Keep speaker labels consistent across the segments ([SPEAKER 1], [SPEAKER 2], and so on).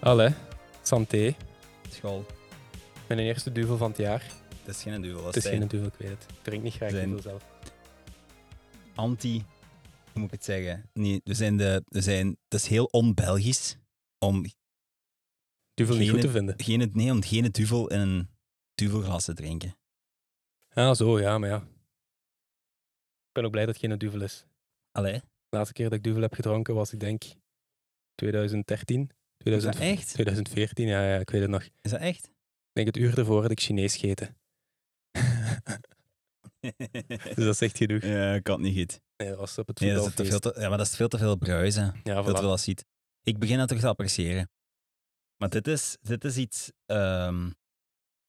[SPEAKER 1] Allee, santé.
[SPEAKER 2] School.
[SPEAKER 1] Mijn eerste duvel van het jaar.
[SPEAKER 2] Het is geen duvel. dat
[SPEAKER 1] het is
[SPEAKER 2] zijn
[SPEAKER 1] geen duvel, ik weet het. Ik drink niet graag
[SPEAKER 2] Zijn-
[SPEAKER 1] duvel zelf.
[SPEAKER 2] anti... Hoe moet ik het zeggen? Nee, we zijn de... We zijn, het is heel on-Belgisch om
[SPEAKER 1] Duvel niet
[SPEAKER 2] Geen-
[SPEAKER 1] goed te vinden.
[SPEAKER 2] geen, nee, om geen duvel in een duvelglas te drinken.
[SPEAKER 1] Ah, zo, ja, maar ja. Ik ben ook blij dat het geen duvel is.
[SPEAKER 2] Allee.
[SPEAKER 1] De laatste keer dat ik duvel heb gedronken was, ik denk, 2013. 2000,
[SPEAKER 2] Is dat echt?
[SPEAKER 1] 2014, ja, ja, ik weet het nog. Ik
[SPEAKER 2] Is dat echt?
[SPEAKER 1] denk het uur ervoor had ik Chinees gegeten. dus dat is echt genoeg.
[SPEAKER 2] ja, ik had niet goed.
[SPEAKER 1] Nee, dat was op het
[SPEAKER 2] Nee, dat is te
[SPEAKER 1] voetbalfeest.
[SPEAKER 2] veel te, ja, maar dat is veel te veel bruisen.
[SPEAKER 1] Ja, voilà.
[SPEAKER 2] Dat wel als ziet. Ik begin dat toch te appreciëren. Maar dit is, dit is iets... ehm,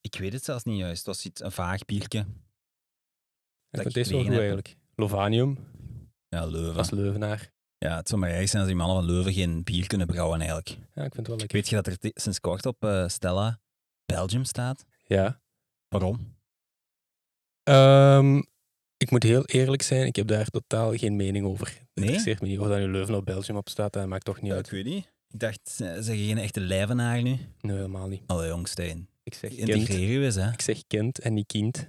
[SPEAKER 2] ik weet het zelfs niet juist. Het was iets, een vaag biertje.
[SPEAKER 1] Ik
[SPEAKER 2] dat
[SPEAKER 1] vind
[SPEAKER 2] ik
[SPEAKER 1] deze wel goed
[SPEAKER 2] gelegen heb.
[SPEAKER 1] eigenlijk. Lovanium,
[SPEAKER 2] Ja, Leuven.
[SPEAKER 1] als Leuvenaar.
[SPEAKER 2] Ja, het zou maar erg zijn als die mannen van Leuven geen bier kunnen brouwen eigenlijk.
[SPEAKER 1] Ja, ik vind het wel lekker.
[SPEAKER 2] Weet je dat er t- sinds kort op eh, Stella Belgium staat?
[SPEAKER 1] Ja.
[SPEAKER 2] Waarom?
[SPEAKER 1] Ehm, ik moet heel eerlijk zijn, ik heb daar totaal geen mening over. Het
[SPEAKER 2] Nee?
[SPEAKER 1] interesseert me niet of dat nu Leuven of Belgium op staat, dat maakt toch niet uit.
[SPEAKER 2] weet niet. Ik dacht, eh, ze zijn geen echte lijvenaar nu?
[SPEAKER 1] Nee, helemaal niet.
[SPEAKER 2] Allee, jongsteen.
[SPEAKER 1] Ik zeg kind.
[SPEAKER 2] Integreer je eens, hè.
[SPEAKER 1] Ik zeg kind en niet kind.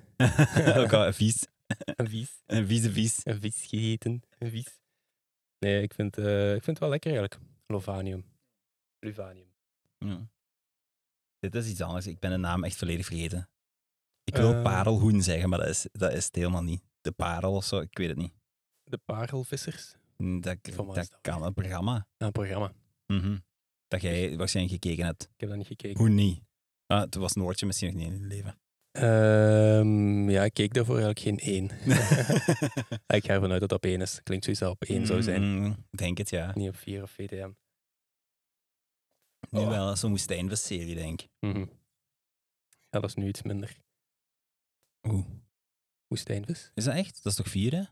[SPEAKER 2] Ook al een vies.
[SPEAKER 1] Een vies.
[SPEAKER 2] Een vieze vies.
[SPEAKER 1] Een vies gegeten. Een vies. Nee, ik vind, eh, ik vind het wel lekker eigenlijk. Lovanium. Luvanium.
[SPEAKER 2] Ja. Dit is iets anders. Ik ben de naam echt volledig vergeten. Ik wil
[SPEAKER 1] Eh.
[SPEAKER 2] parelhoen zeggen, maar dat is, dat is het helemaal niet. De parel of zo, ik weet het niet. Mm,
[SPEAKER 1] De parelvissers.
[SPEAKER 2] Dat,
[SPEAKER 1] Van waar is
[SPEAKER 2] dat
[SPEAKER 1] dat
[SPEAKER 2] kan, een programma.
[SPEAKER 1] Ah, Een programma.
[SPEAKER 2] Mhm. Dat jij waarschijnlijk gekeken hebt.
[SPEAKER 1] Ik heb dat niet gekeken.
[SPEAKER 2] Hoe niet? Ah, toen was Noortje misschien nog niet in het leven.
[SPEAKER 1] Ehm, ja, ik keek daarvoor eigenlijk geen één. ik ga ervan uit dat dat op één is. Klinkt zoiets dat op één zou zijn.
[SPEAKER 2] Mm, denk het, ja.
[SPEAKER 1] Niet op vier of VTM.
[SPEAKER 2] Nu
[SPEAKER 1] Oh.
[SPEAKER 2] wel als een woestijnvis-serie, denk ik.
[SPEAKER 1] Mhm. Ja, dat is nu iets minder.
[SPEAKER 2] Oeh.
[SPEAKER 1] Woestijnvis?
[SPEAKER 2] Is dat echt? Dat is toch vier, hè?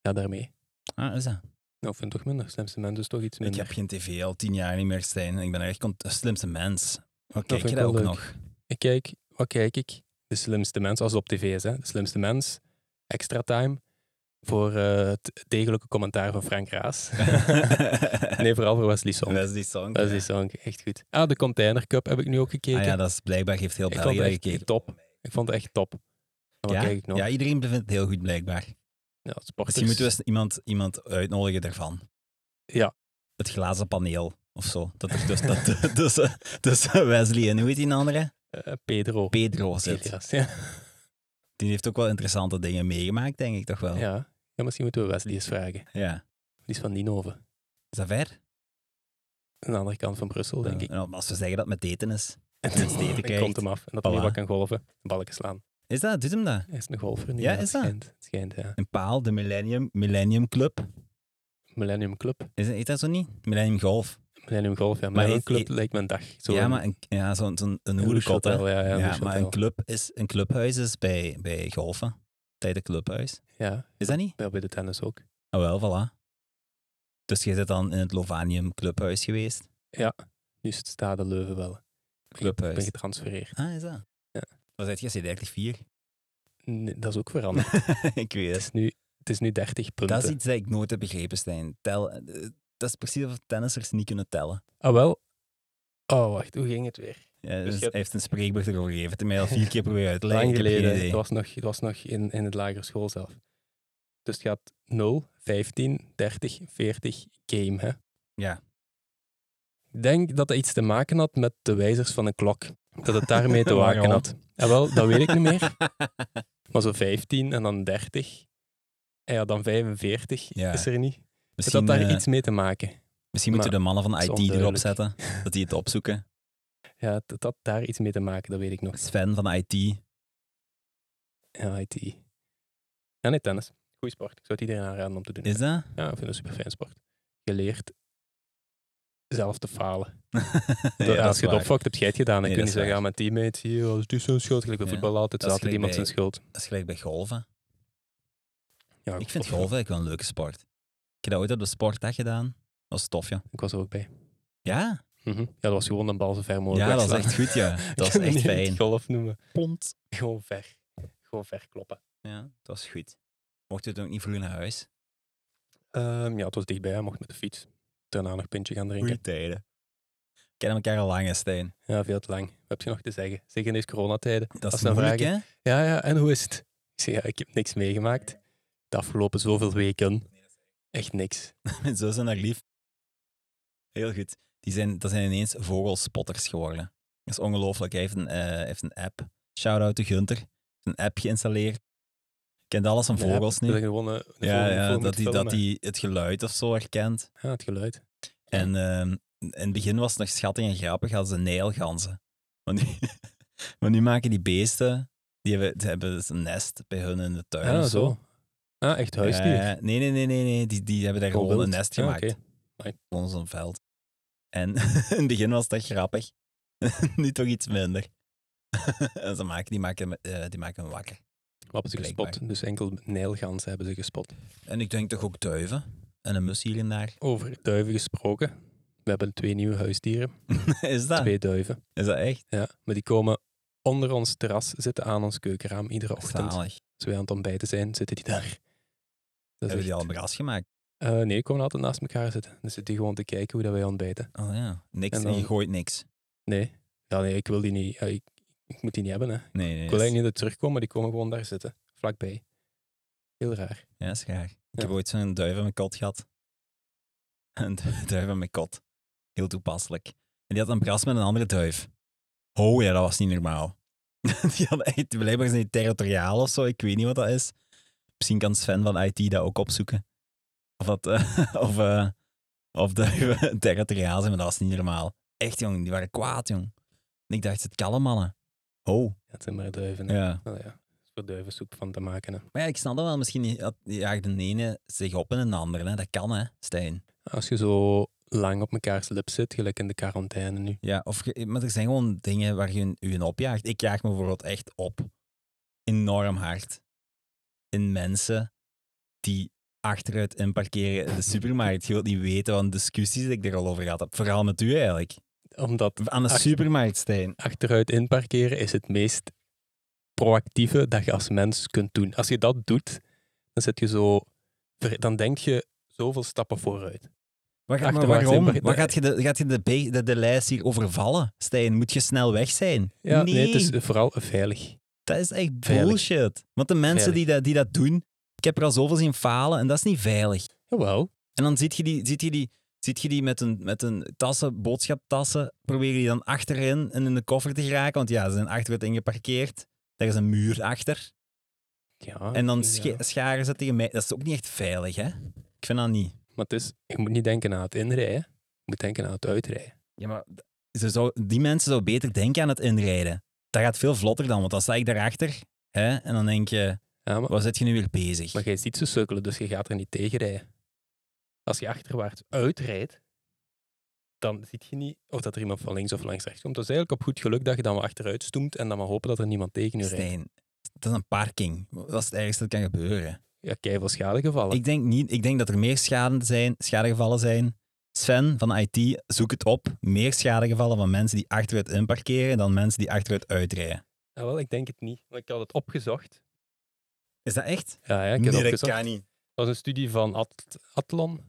[SPEAKER 1] Ja, daarmee.
[SPEAKER 2] Ah, is dat?
[SPEAKER 1] Nou, ik vind het toch minder. Slimste mens is toch iets
[SPEAKER 2] Ik
[SPEAKER 1] minder.
[SPEAKER 2] heb geen tv al tien jaar niet meer, Stijn. Ik ben echt cont- de slimste mens. Wat
[SPEAKER 1] vind
[SPEAKER 2] kijk je
[SPEAKER 1] ik wel
[SPEAKER 2] dat ook
[SPEAKER 1] leuk.
[SPEAKER 2] nog?
[SPEAKER 1] Ik kijk, wat kijk ik? De slimste mens, als het op tv is, hè? De slimste mens, extra time. Voor eh, het degelijke commentaar van Frank Raas. nee, vooral voor Wesley Song.
[SPEAKER 2] die song.
[SPEAKER 1] Wesley Song, echt goed. Ah, de Container Cup heb ik nu ook gekeken.
[SPEAKER 2] Ah ja, dat is blijkbaar heeft heel
[SPEAKER 1] ik vond
[SPEAKER 2] België
[SPEAKER 1] het
[SPEAKER 2] dat
[SPEAKER 1] echt
[SPEAKER 2] gekeken.
[SPEAKER 1] top. Ik vond het echt top. En wat
[SPEAKER 2] Ja?
[SPEAKER 1] kijk ik nog?
[SPEAKER 2] Ja, iedereen bevindt het heel goed, blijkbaar.
[SPEAKER 1] Ja, sporters.
[SPEAKER 2] Misschien moeten we eens iemand, iemand uitnodigen daarvan.
[SPEAKER 1] Ja.
[SPEAKER 2] Het glazen paneel of zo. Dat er dus, dat, tussen, tussen Wesley en hoe heet die andere?
[SPEAKER 1] Eh, Pedro.
[SPEAKER 2] Pedro zit.
[SPEAKER 1] Pedro. Ja.
[SPEAKER 2] Die heeft ook wel interessante dingen meegemaakt, denk ik toch wel. Ja.
[SPEAKER 1] Ja. ja, misschien moeten we Wesley eens vragen. Die is van Ninove.
[SPEAKER 2] Is dat ver?
[SPEAKER 1] Aan de andere kant van Brussel, denk ik.
[SPEAKER 2] Ja, maar als we zeggen dat het met eten is.
[SPEAKER 1] En
[SPEAKER 2] dat is die te kijken.
[SPEAKER 1] komt hem af. En dat hij niet
[SPEAKER 2] Voilà.
[SPEAKER 1] wat kan golven. Balken slaan.
[SPEAKER 2] Is dat? Doet hem dat?
[SPEAKER 1] Hij is een golfer. niet?
[SPEAKER 2] Ja,
[SPEAKER 1] het
[SPEAKER 2] is dat?
[SPEAKER 1] Schijnt, het schijnt, ja.
[SPEAKER 2] Een paal, de Millennium, Millennium Club.
[SPEAKER 1] Millennium Club.
[SPEAKER 2] Is, heet dat zo niet? Millennium Golf.
[SPEAKER 1] Millennium Golf, ja.
[SPEAKER 2] Maar
[SPEAKER 1] Millennium
[SPEAKER 2] heeft-
[SPEAKER 1] Club lijkt me een dag. Zo
[SPEAKER 2] ja,
[SPEAKER 1] een-
[SPEAKER 2] maar een, ja, zo'n zo'n een
[SPEAKER 1] een
[SPEAKER 2] hoerenkot, hè.
[SPEAKER 1] hotel, Ja, ja,
[SPEAKER 2] Ja,
[SPEAKER 1] een douche
[SPEAKER 2] maar een,
[SPEAKER 1] hotel.
[SPEAKER 2] club is, een clubhuis is bij, bij golfen. Tijd een clubhuis.
[SPEAKER 1] Ja,
[SPEAKER 2] Is dat niet?
[SPEAKER 1] wel bij de tennis ook.
[SPEAKER 2] Ah wel, voilà. Dus je zit dan in het Lovanium Clubhuis geweest?
[SPEAKER 1] Nu is het Stade Leuven wel. Ik ben
[SPEAKER 2] Clubhuis.
[SPEAKER 1] getransfereerd.
[SPEAKER 2] Ah, is dat?
[SPEAKER 1] Ja.
[SPEAKER 2] Dan zit je sinds 34.
[SPEAKER 1] Nee, dat is ook veranderd.
[SPEAKER 2] ik
[SPEAKER 1] het,
[SPEAKER 2] weet het.
[SPEAKER 1] is nu, het is nu 30 punten.
[SPEAKER 2] Dat is iets dat ik nooit heb begrepen, Stijn. Tel, eh, dat is precies of tennissers niet kunnen tellen.
[SPEAKER 1] Ah, wel. Oh, wacht, hoe ging het weer?
[SPEAKER 2] Ja, dus
[SPEAKER 1] je
[SPEAKER 2] hij
[SPEAKER 1] hebt-
[SPEAKER 2] heeft een spreekbeurt erover gegeven. Het heeft mij al vier keer proberen uit te leggen.
[SPEAKER 1] Lang
[SPEAKER 2] Ik heb geen
[SPEAKER 1] geleden.
[SPEAKER 2] idee.
[SPEAKER 1] Het was nog, het was nog in, in het lagere school zelf. Dus het gaat 0, 15, 30, 40 game, hè?
[SPEAKER 2] Ja.
[SPEAKER 1] Ik denk dat dat iets te maken had met de wijzers van een klok. Dat het daarmee te maken
[SPEAKER 2] Waarom?
[SPEAKER 1] had. En Ah, wel, dat weet ik niet meer. Maar zo 15 en dan 30. En ja, dan 45
[SPEAKER 2] Ja.
[SPEAKER 1] is er niet. Het
[SPEAKER 2] misschien
[SPEAKER 1] had daar
[SPEAKER 2] eh,
[SPEAKER 1] iets mee te maken.
[SPEAKER 2] misschien moeten
[SPEAKER 1] maar
[SPEAKER 2] de mannen van
[SPEAKER 1] het is
[SPEAKER 2] IT erop
[SPEAKER 1] onduidelijk.
[SPEAKER 2] zetten, dat die het opzoeken.
[SPEAKER 1] Ja, het, het had daar iets mee te maken, dat weet ik nog.
[SPEAKER 2] Sven van IT.
[SPEAKER 1] Ja, IT. Ja, nee, tennis. Goeie sport. Ik zou het iedereen aanraden om te doen.
[SPEAKER 2] Is dat?
[SPEAKER 1] Ja, ik vind het een super fijn sport. Je leert zelf te falen.
[SPEAKER 2] Ja,
[SPEAKER 1] Door-
[SPEAKER 2] dat
[SPEAKER 1] als je
[SPEAKER 2] is
[SPEAKER 1] het
[SPEAKER 2] waar.
[SPEAKER 1] opfokt, heb jij het gedaan. Dan
[SPEAKER 2] Nee,
[SPEAKER 1] kun je
[SPEAKER 2] dat is
[SPEAKER 1] zeggen, ja, mijn teammates, hier, oh, het is zo'n schuld. Gelijk bij
[SPEAKER 2] Ja.
[SPEAKER 1] voetbal altijd,
[SPEAKER 2] Dat is
[SPEAKER 1] is altijd iemand
[SPEAKER 2] gelijk
[SPEAKER 1] zijn schuld.
[SPEAKER 2] Dat is gelijk bij golven.
[SPEAKER 1] Ja,
[SPEAKER 2] Ik vind
[SPEAKER 1] of-
[SPEAKER 2] golven eigenlijk wel een leuke sport. Ik heb dat ooit op de sportdag gedaan. Dat was tof, ja.
[SPEAKER 1] Ik was er ook bij.
[SPEAKER 2] Ja,
[SPEAKER 1] Mhm. Ja, dat was gewoon een bal zo ver mogelijk
[SPEAKER 2] ja dat was
[SPEAKER 1] wegslaan.
[SPEAKER 2] echt goed, ja. Dat
[SPEAKER 1] Ik
[SPEAKER 2] was
[SPEAKER 1] kan
[SPEAKER 2] echt
[SPEAKER 1] het niet
[SPEAKER 2] fijn.
[SPEAKER 1] golf noemen.
[SPEAKER 2] Pont.
[SPEAKER 1] Gewoon ver. Gewoon ver kloppen.
[SPEAKER 2] Ja, dat was goed. Mocht het ook niet vroeg naar huis?
[SPEAKER 1] Ehm, ja, het was dichtbij. Hij mocht met de fiets. Daarna nog een pintje gaan drinken.
[SPEAKER 2] Goeie tijden. We kennen elkaar al lang, hè, Stijn.
[SPEAKER 1] Ja, veel te lang. Wat heb je nog te zeggen? Zeker in deze coronatijden.
[SPEAKER 2] Dat
[SPEAKER 1] Als
[SPEAKER 2] is
[SPEAKER 1] dan
[SPEAKER 2] moeilijk, hè?
[SPEAKER 1] Ja, ja, en hoe is het? Ik zeg, ja, ik heb niks meegemaakt. De afgelopen zoveel weken. Echt niks.
[SPEAKER 2] Mijn zus en haar lief. Heel goed. Die zijn, dat zijn ineens vogelspotters geworden. Dat is ongelooflijk. Hij heeft een, eh, heeft een app. Shout-out to Gunter. Hij heeft een app geïnstalleerd. Kent alles van vogels
[SPEAKER 1] Ja,
[SPEAKER 2] nu.
[SPEAKER 1] dat je gewoon, eh, de
[SPEAKER 2] Ja,
[SPEAKER 1] vogel-
[SPEAKER 2] ja
[SPEAKER 1] vogel
[SPEAKER 2] dat,
[SPEAKER 1] moet
[SPEAKER 2] die, dat
[SPEAKER 1] filmen.
[SPEAKER 2] die het geluid of zo herkent.
[SPEAKER 1] Ja, het geluid.
[SPEAKER 2] En ehm, in het begin was het nog schattig en grappig, hadden ze nijlganzen. Maar nu, maar nu maken die beesten, die hebben, die hebben dus een nest bij hun in de tuin.
[SPEAKER 1] Ah,
[SPEAKER 2] of zo.
[SPEAKER 1] zo. Ah, echt huisdier.
[SPEAKER 2] Ja, ja. nee, nee, nee, nee, nee. Die, die hebben daar
[SPEAKER 1] Gewoon
[SPEAKER 2] gewoon een
[SPEAKER 1] wild.
[SPEAKER 2] nest
[SPEAKER 1] Ja,
[SPEAKER 2] gemaakt.
[SPEAKER 1] oké.
[SPEAKER 2] Gewoon zo'n veld. En in het begin was dat grappig. nu toch iets minder. en ze maken, die, maken, eh, die maken hem wakker.
[SPEAKER 1] Wat hebben ze
[SPEAKER 2] Blijkbaar.
[SPEAKER 1] gespot? Dus enkel nijlganzen hebben ze gespot.
[SPEAKER 2] En ik denk toch ook duiven en een mus hier en daar.
[SPEAKER 1] Over duiven gesproken. We hebben twee nieuwe huisdieren.
[SPEAKER 2] is, dat,
[SPEAKER 1] Twee duiven.
[SPEAKER 2] is dat echt?
[SPEAKER 1] Ja, maar die komen onder ons terras zitten aan ons keukenraam iedere ochtend.
[SPEAKER 2] Zalig.
[SPEAKER 1] Als wij aan het ontbijten zijn, zitten die daar. Dat is
[SPEAKER 2] Hebben die
[SPEAKER 1] echt-
[SPEAKER 2] al een bras gemaakt?
[SPEAKER 1] Eh, nee, die komen altijd naast elkaar zitten. Dan zitten die gewoon te kijken hoe dat wij ontbijten.
[SPEAKER 2] Oh ja. Niks,
[SPEAKER 1] En
[SPEAKER 2] en
[SPEAKER 1] dan-
[SPEAKER 2] je gooit niks.
[SPEAKER 1] Nee. Ja, nee, ik wil die niet. ja, ik, ik moet die niet hebben, hè.
[SPEAKER 2] Nee, nee.
[SPEAKER 1] Ik wil
[SPEAKER 2] dat is-
[SPEAKER 1] eigenlijk niet dat ze terugkomen, maar die komen gewoon daar zitten. Vlakbij. Heel raar.
[SPEAKER 2] Ja, dat is graag. Ik
[SPEAKER 1] Ja.
[SPEAKER 2] heb ooit zo'n duif in mijn kot gehad. Een du- duif in mijn kot. Heel toepasselijk. En die had een bras met een andere duif. Oh ja, dat was niet normaal. die had echt, blijkbaar zijn die territoriaal of zo, ik weet niet wat dat is. Misschien kan Sven van IT dat ook opzoeken. Of, dat, eh, of, eh, of duiven territoriaal zijn, maar dat was niet normaal. Echt jong, die waren kwaad jong. En ik dacht, het kallen mannen. Oh,
[SPEAKER 1] Ja, het zijn maar duiven. hè.
[SPEAKER 2] ja.
[SPEAKER 1] Nou ja, er is voor duivensoep van te maken. Hè.
[SPEAKER 2] Maar ja, ik snap dat wel. Misschien had- jaagt de ene zich op in een andere. Hè. Dat kan, hè, Stijn.
[SPEAKER 1] Als je zo lang op mekaars lip zit, gelijk in de quarantaine nu.
[SPEAKER 2] Ja, of ge- maar er zijn gewoon dingen waar je een- u in opjaagt. Ik jaag me bijvoorbeeld echt op. Enorm hard. In mensen die achteruit in parkeren in de supermarkt. Je wilt niet weten van discussies die ik er al over gehad heb. Vooral met u eigenlijk.
[SPEAKER 1] Omdat
[SPEAKER 2] Aan de
[SPEAKER 1] Ach.
[SPEAKER 2] supermarkt, Stijn.
[SPEAKER 1] achteruit inparkeren is het meest proactieve dat je als mens kunt doen. Als je dat doet, dan zit je zo... ver- Dan denk je zoveel stappen vooruit.
[SPEAKER 2] Waar, ga- maar
[SPEAKER 1] Achterwaarts in
[SPEAKER 2] waarom?
[SPEAKER 1] park-
[SPEAKER 2] Waar gaat je, de, gaat je de, be- de, de lijst hier overvallen, Stijn? Moet je snel weg zijn?
[SPEAKER 1] Ja, nee. het is vooral veilig.
[SPEAKER 2] Dat is echt
[SPEAKER 1] Veilig.
[SPEAKER 2] bullshit. Want de mensen die dat, die dat doen, ik heb er al zoveel zien falen en dat is niet veilig.
[SPEAKER 1] Jawel.
[SPEAKER 2] En dan ziet je die, ziet je die, ziet je die met, een, met een tassen, boodschaptassen, probeer je die dan achterin en in de koffer te geraken. Want ja, ze zijn achteruit ingeparkeerd. Daar is een muur achter.
[SPEAKER 1] Ja,
[SPEAKER 2] En dan
[SPEAKER 1] Ah, ja.
[SPEAKER 2] sche- scharen ze tegen mij. Dat is ook niet echt veilig, hè? Ik vind dat niet.
[SPEAKER 1] Maar het is, je moet niet denken aan het inrijden. Je moet denken aan het uitrijden.
[SPEAKER 2] Ja, maar ze zou, die mensen zouden beter denken aan het inrijden. Dat gaat veel vlotter dan, want dan sta ik daarachter. Hè? En dan denk je,
[SPEAKER 1] Ja, maar,
[SPEAKER 2] waar zit je nu weer bezig?
[SPEAKER 1] maar jij ziet ze sukkelen, dus je gaat er niet tegen rijden. Als je achterwaarts uitrijdt, dan zie je niet of dat er iemand van links of langs rechts komt. Dat is eigenlijk op goed geluk dat je dan maar achteruit stoemt en dan maar hopen dat er niemand tegen je rijdt.
[SPEAKER 2] Stijn, dat is een parking. Dat is het ergste dat kan gebeuren.
[SPEAKER 1] Ja, keiveel schade gevallen.
[SPEAKER 2] Ik denk, niet, ik denk dat er meer schade zijn, schadegevallen zijn. Sven van IT, zoek het op. Meer schadegevallen van mensen die achteruit inparkeren dan mensen die achteruit uitrijden.
[SPEAKER 1] Ja, wel, ik denk het niet, want ik had het opgezocht.
[SPEAKER 2] Is dat echt?
[SPEAKER 1] Ja, ja ik heb het opgezocht. Dat,
[SPEAKER 2] niet.
[SPEAKER 1] was een studie van At- Atlon,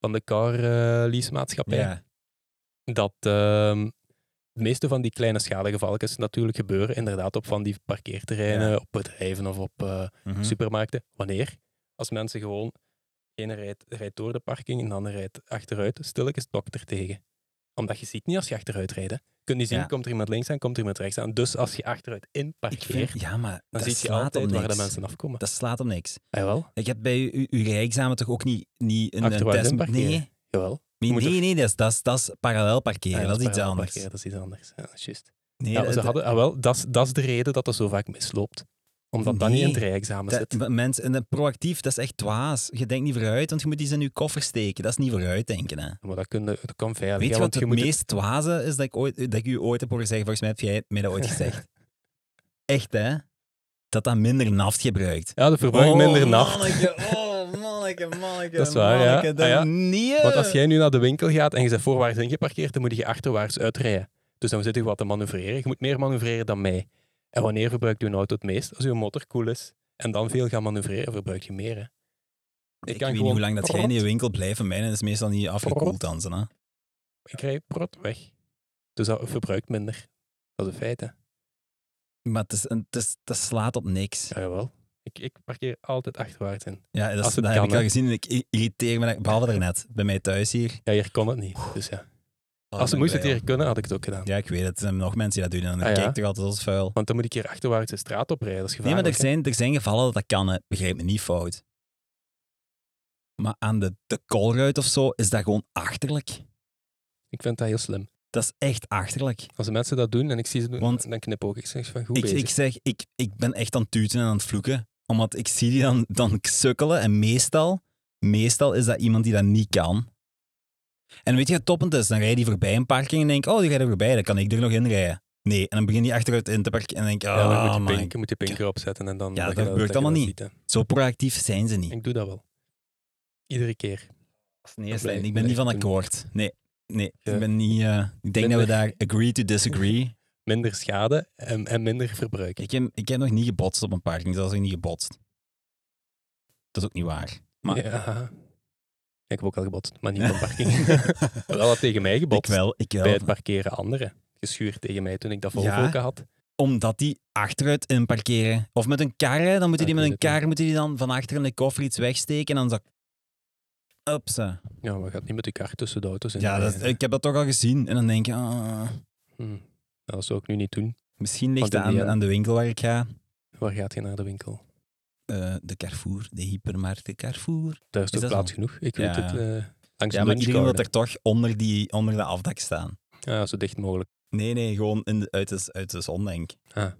[SPEAKER 1] van de car eh, lease maatschappij.
[SPEAKER 2] Ja.
[SPEAKER 1] dat ehm de meeste van die kleine schadegevalletjes natuurlijk gebeuren inderdaad op van die parkeerterreinen,
[SPEAKER 2] Ja.
[SPEAKER 1] op bedrijven of op eh,
[SPEAKER 2] Mhm.
[SPEAKER 1] supermarkten. Wanneer? Als mensen gewoon, ene rijdt, rijdt door de parking en de ander rijdt achteruit, stilletjes tokt er tegen. Omdat je ziet niet als je achteruit rijdt. hè. Je kunt niet zien,
[SPEAKER 2] Ja.
[SPEAKER 1] komt er iemand links aan, komt er iemand rechts aan. Dus als je achteruit in
[SPEAKER 2] Ik
[SPEAKER 1] parkeert,
[SPEAKER 2] vind, ja, maar
[SPEAKER 1] dan
[SPEAKER 2] dat
[SPEAKER 1] zie je
[SPEAKER 2] slaat
[SPEAKER 1] altijd
[SPEAKER 2] op
[SPEAKER 1] waar
[SPEAKER 2] niks.
[SPEAKER 1] de mensen afkomen.
[SPEAKER 2] Dat slaat op niks.
[SPEAKER 1] Ah, jawel,
[SPEAKER 2] Ik heb bij u- uw rijexamen toch ook niet, niet een een
[SPEAKER 1] Achteruit
[SPEAKER 2] test...
[SPEAKER 1] inparkeren.
[SPEAKER 2] Nee,
[SPEAKER 1] jawel.
[SPEAKER 2] nee,
[SPEAKER 1] Moet
[SPEAKER 2] nee, nee, dat is, dat is, dat is parallel parkeren.
[SPEAKER 1] Ah,
[SPEAKER 2] dat is iets
[SPEAKER 1] parallel
[SPEAKER 2] anders.
[SPEAKER 1] parkeren, Dat is iets anders. Ja, dat is juist.
[SPEAKER 2] Nee,
[SPEAKER 1] Ja,
[SPEAKER 2] dat-
[SPEAKER 1] ze hadden, ah, wel, dat is- dat is de reden dat dat zo vaak misloopt. Omdat dat niet in het
[SPEAKER 2] Nee,
[SPEAKER 1] rijexamen
[SPEAKER 2] Dat-
[SPEAKER 1] zit.
[SPEAKER 2] maar Mensen, en dat proactief, dat is echt dwaas. Je denkt niet vooruit, want je moet iets in je koffer steken. Dat is niet vooruitdenken. Hè.
[SPEAKER 1] Maar dat, kun je, dat kan veilig.
[SPEAKER 2] Weet
[SPEAKER 1] hè,
[SPEAKER 2] je
[SPEAKER 1] want
[SPEAKER 2] wat
[SPEAKER 1] je
[SPEAKER 2] het
[SPEAKER 1] moet
[SPEAKER 2] meest dwaze is dat ik, ooit, eh, dat ik u ooit heb horen zeggen? Volgens mij heb jij mij dat ooit gezegd. Echt, hè? Dat dat minder naft gebruikt. Oh,
[SPEAKER 1] Ja, de verbruikt minder nacht.
[SPEAKER 2] Manneke, oh, manneke, manneke.
[SPEAKER 1] Dat is waar, ja.
[SPEAKER 2] manneke, dat
[SPEAKER 1] Ah, ja.
[SPEAKER 2] niet.
[SPEAKER 1] Want als jij nu naar de winkel gaat en je bent voorwaarts ingeparkeerd, dan moet je achterwaarts uitrijden. Dus dan zit je wat te manoeuvreren. Je moet meer manoeuvreren dan mij. En wanneer verbruikt je auto het meest? Als je motor koel is en dan veel gaat manoeuvreren, verbruik je meer. Hè? Ik, kan
[SPEAKER 2] Ik weet niet
[SPEAKER 1] gewoon
[SPEAKER 2] hoe lang dat jij in die
[SPEAKER 1] prot-
[SPEAKER 2] winkel blijft. en Mijne is meestal niet afgekoeld dan. Hè?
[SPEAKER 1] Ik krijg prot weg. Dus dat verbruikt minder. Dat is een feit, hè.
[SPEAKER 2] Maar het, is, een- het, is, het slaat op niks.
[SPEAKER 1] Ja, jawel. Ik, ik parkeer altijd achterwaarts in.
[SPEAKER 2] Ja, dat,
[SPEAKER 1] Als
[SPEAKER 2] is,
[SPEAKER 1] het
[SPEAKER 2] dat
[SPEAKER 1] kan,
[SPEAKER 2] heb ik al
[SPEAKER 1] hè.
[SPEAKER 2] gezien. en Ik i- irriteer me, daar- behalve daarnet, bij mij thuis hier.
[SPEAKER 1] Ja, hier kon het niet. Dus ja.
[SPEAKER 2] Oh,
[SPEAKER 1] Als ze
[SPEAKER 2] ben
[SPEAKER 1] moest het
[SPEAKER 2] blij
[SPEAKER 1] hier kunnen, had ik het ook gedaan.
[SPEAKER 2] om. Ja, ik weet het. Er zijn nog mensen die dat doen. En dan
[SPEAKER 1] Ah, ja.
[SPEAKER 2] kijk ik toch altijd als vuil.
[SPEAKER 1] Want dan moet ik hier achterwaarts de straat oprijden. Dat is
[SPEAKER 2] Nee, maar
[SPEAKER 1] gevaarlijk.
[SPEAKER 2] er
[SPEAKER 1] hè.
[SPEAKER 2] zijn, er zijn gevallen dat dat kan. hè. Begrijp me niet fout. Maar aan de, de kolruit of zo is dat gewoon achterlijk.
[SPEAKER 1] Ik vind dat heel slim.
[SPEAKER 2] Dat is echt achterlijk.
[SPEAKER 1] Als de mensen dat doen en ik zie ze doen,
[SPEAKER 2] Want-
[SPEAKER 1] dan knipoog ik. Ik zeg van, goed
[SPEAKER 2] Ik,
[SPEAKER 1] bezig.
[SPEAKER 2] ik zeg, ik, ik ben echt aan het tuten en aan het vloeken. Omdat ik zie die dan, dan sukkelen. En meestal, meestal is dat iemand die dat niet kan. En weet je wat toppend is? Dan rijdt die voorbij een parking en denk oh, die rijdt er voorbij, dan kan ik er nog in rijden. Nee, en dan begin die achteruit in te parken en denk
[SPEAKER 1] ja, dan
[SPEAKER 2] oh,
[SPEAKER 1] moet je,
[SPEAKER 2] man.
[SPEAKER 1] pink, moet je pinker opzetten en dan...
[SPEAKER 2] Ja,
[SPEAKER 1] je
[SPEAKER 2] dat gebeurt
[SPEAKER 1] je
[SPEAKER 2] allemaal
[SPEAKER 1] dat
[SPEAKER 2] niet.
[SPEAKER 1] ziet, hè.
[SPEAKER 2] Zo proactief zijn ze niet.
[SPEAKER 1] Ik doe dat wel. Iedere keer.
[SPEAKER 2] Dat is een eerste
[SPEAKER 1] Dat
[SPEAKER 2] lijn.
[SPEAKER 1] blijf-
[SPEAKER 2] Ik ben niet van
[SPEAKER 1] blijf doen.
[SPEAKER 2] akkoord. Nee, nee.
[SPEAKER 1] Ja.
[SPEAKER 2] Ik ben niet. eh, ik denk dat we daar agree to disagree.
[SPEAKER 1] Minder schade en, en minder verbruik.
[SPEAKER 2] ik, heb, ik heb nog niet gebotst op een parking. Zelfs nog niet gebotst. Dat is ook niet waar. Maar
[SPEAKER 1] Ja. Ik heb ook al gebotst, maar niet op een parking. wel had tegen mij
[SPEAKER 2] ik
[SPEAKER 1] gebotst.
[SPEAKER 2] wel, ik
[SPEAKER 1] Bij
[SPEAKER 2] wel.
[SPEAKER 1] het parkeren anderen. Geschuurd tegen mij toen ik dat
[SPEAKER 2] Ja.
[SPEAKER 1] volvoken had.
[SPEAKER 2] Omdat die achteruit in parkeren. Of met een kar, hè, dan moeten
[SPEAKER 1] Ja,
[SPEAKER 2] die met
[SPEAKER 1] ik
[SPEAKER 2] een
[SPEAKER 1] weet het
[SPEAKER 2] kar moeten die dan van achter in de koffer iets wegsteken en dan zo. Upsa.
[SPEAKER 1] Ja, maar je gaat niet met de kar tussen de auto's in.
[SPEAKER 2] Ja, dat,
[SPEAKER 1] rijden.
[SPEAKER 2] ik heb dat toch al gezien. En dan denk je, ah,
[SPEAKER 1] Hm. Dat zou ik nu niet doen.
[SPEAKER 2] misschien ligt
[SPEAKER 1] Want
[SPEAKER 2] dat
[SPEAKER 1] in die
[SPEAKER 2] aan,
[SPEAKER 1] end-
[SPEAKER 2] aan de winkel waar ik ga.
[SPEAKER 1] Waar gaat je naar de winkel?
[SPEAKER 2] Eh, de Carrefour, de hypermarkt, de Carrefour.
[SPEAKER 1] Daar is,
[SPEAKER 2] Is
[SPEAKER 1] toch
[SPEAKER 2] dat
[SPEAKER 1] plaats
[SPEAKER 2] zo?
[SPEAKER 1] genoeg. Ik
[SPEAKER 2] Ja.
[SPEAKER 1] weet het. eh, langs
[SPEAKER 2] Ja,
[SPEAKER 1] de
[SPEAKER 2] maar iedereen wil
[SPEAKER 1] lunchcorner.
[SPEAKER 2] er toch onder, die, onder de afdak staan.
[SPEAKER 1] Ja, zo dicht mogelijk.
[SPEAKER 2] Nee, nee, gewoon in de, uit, de, uit de zon, denk, ik.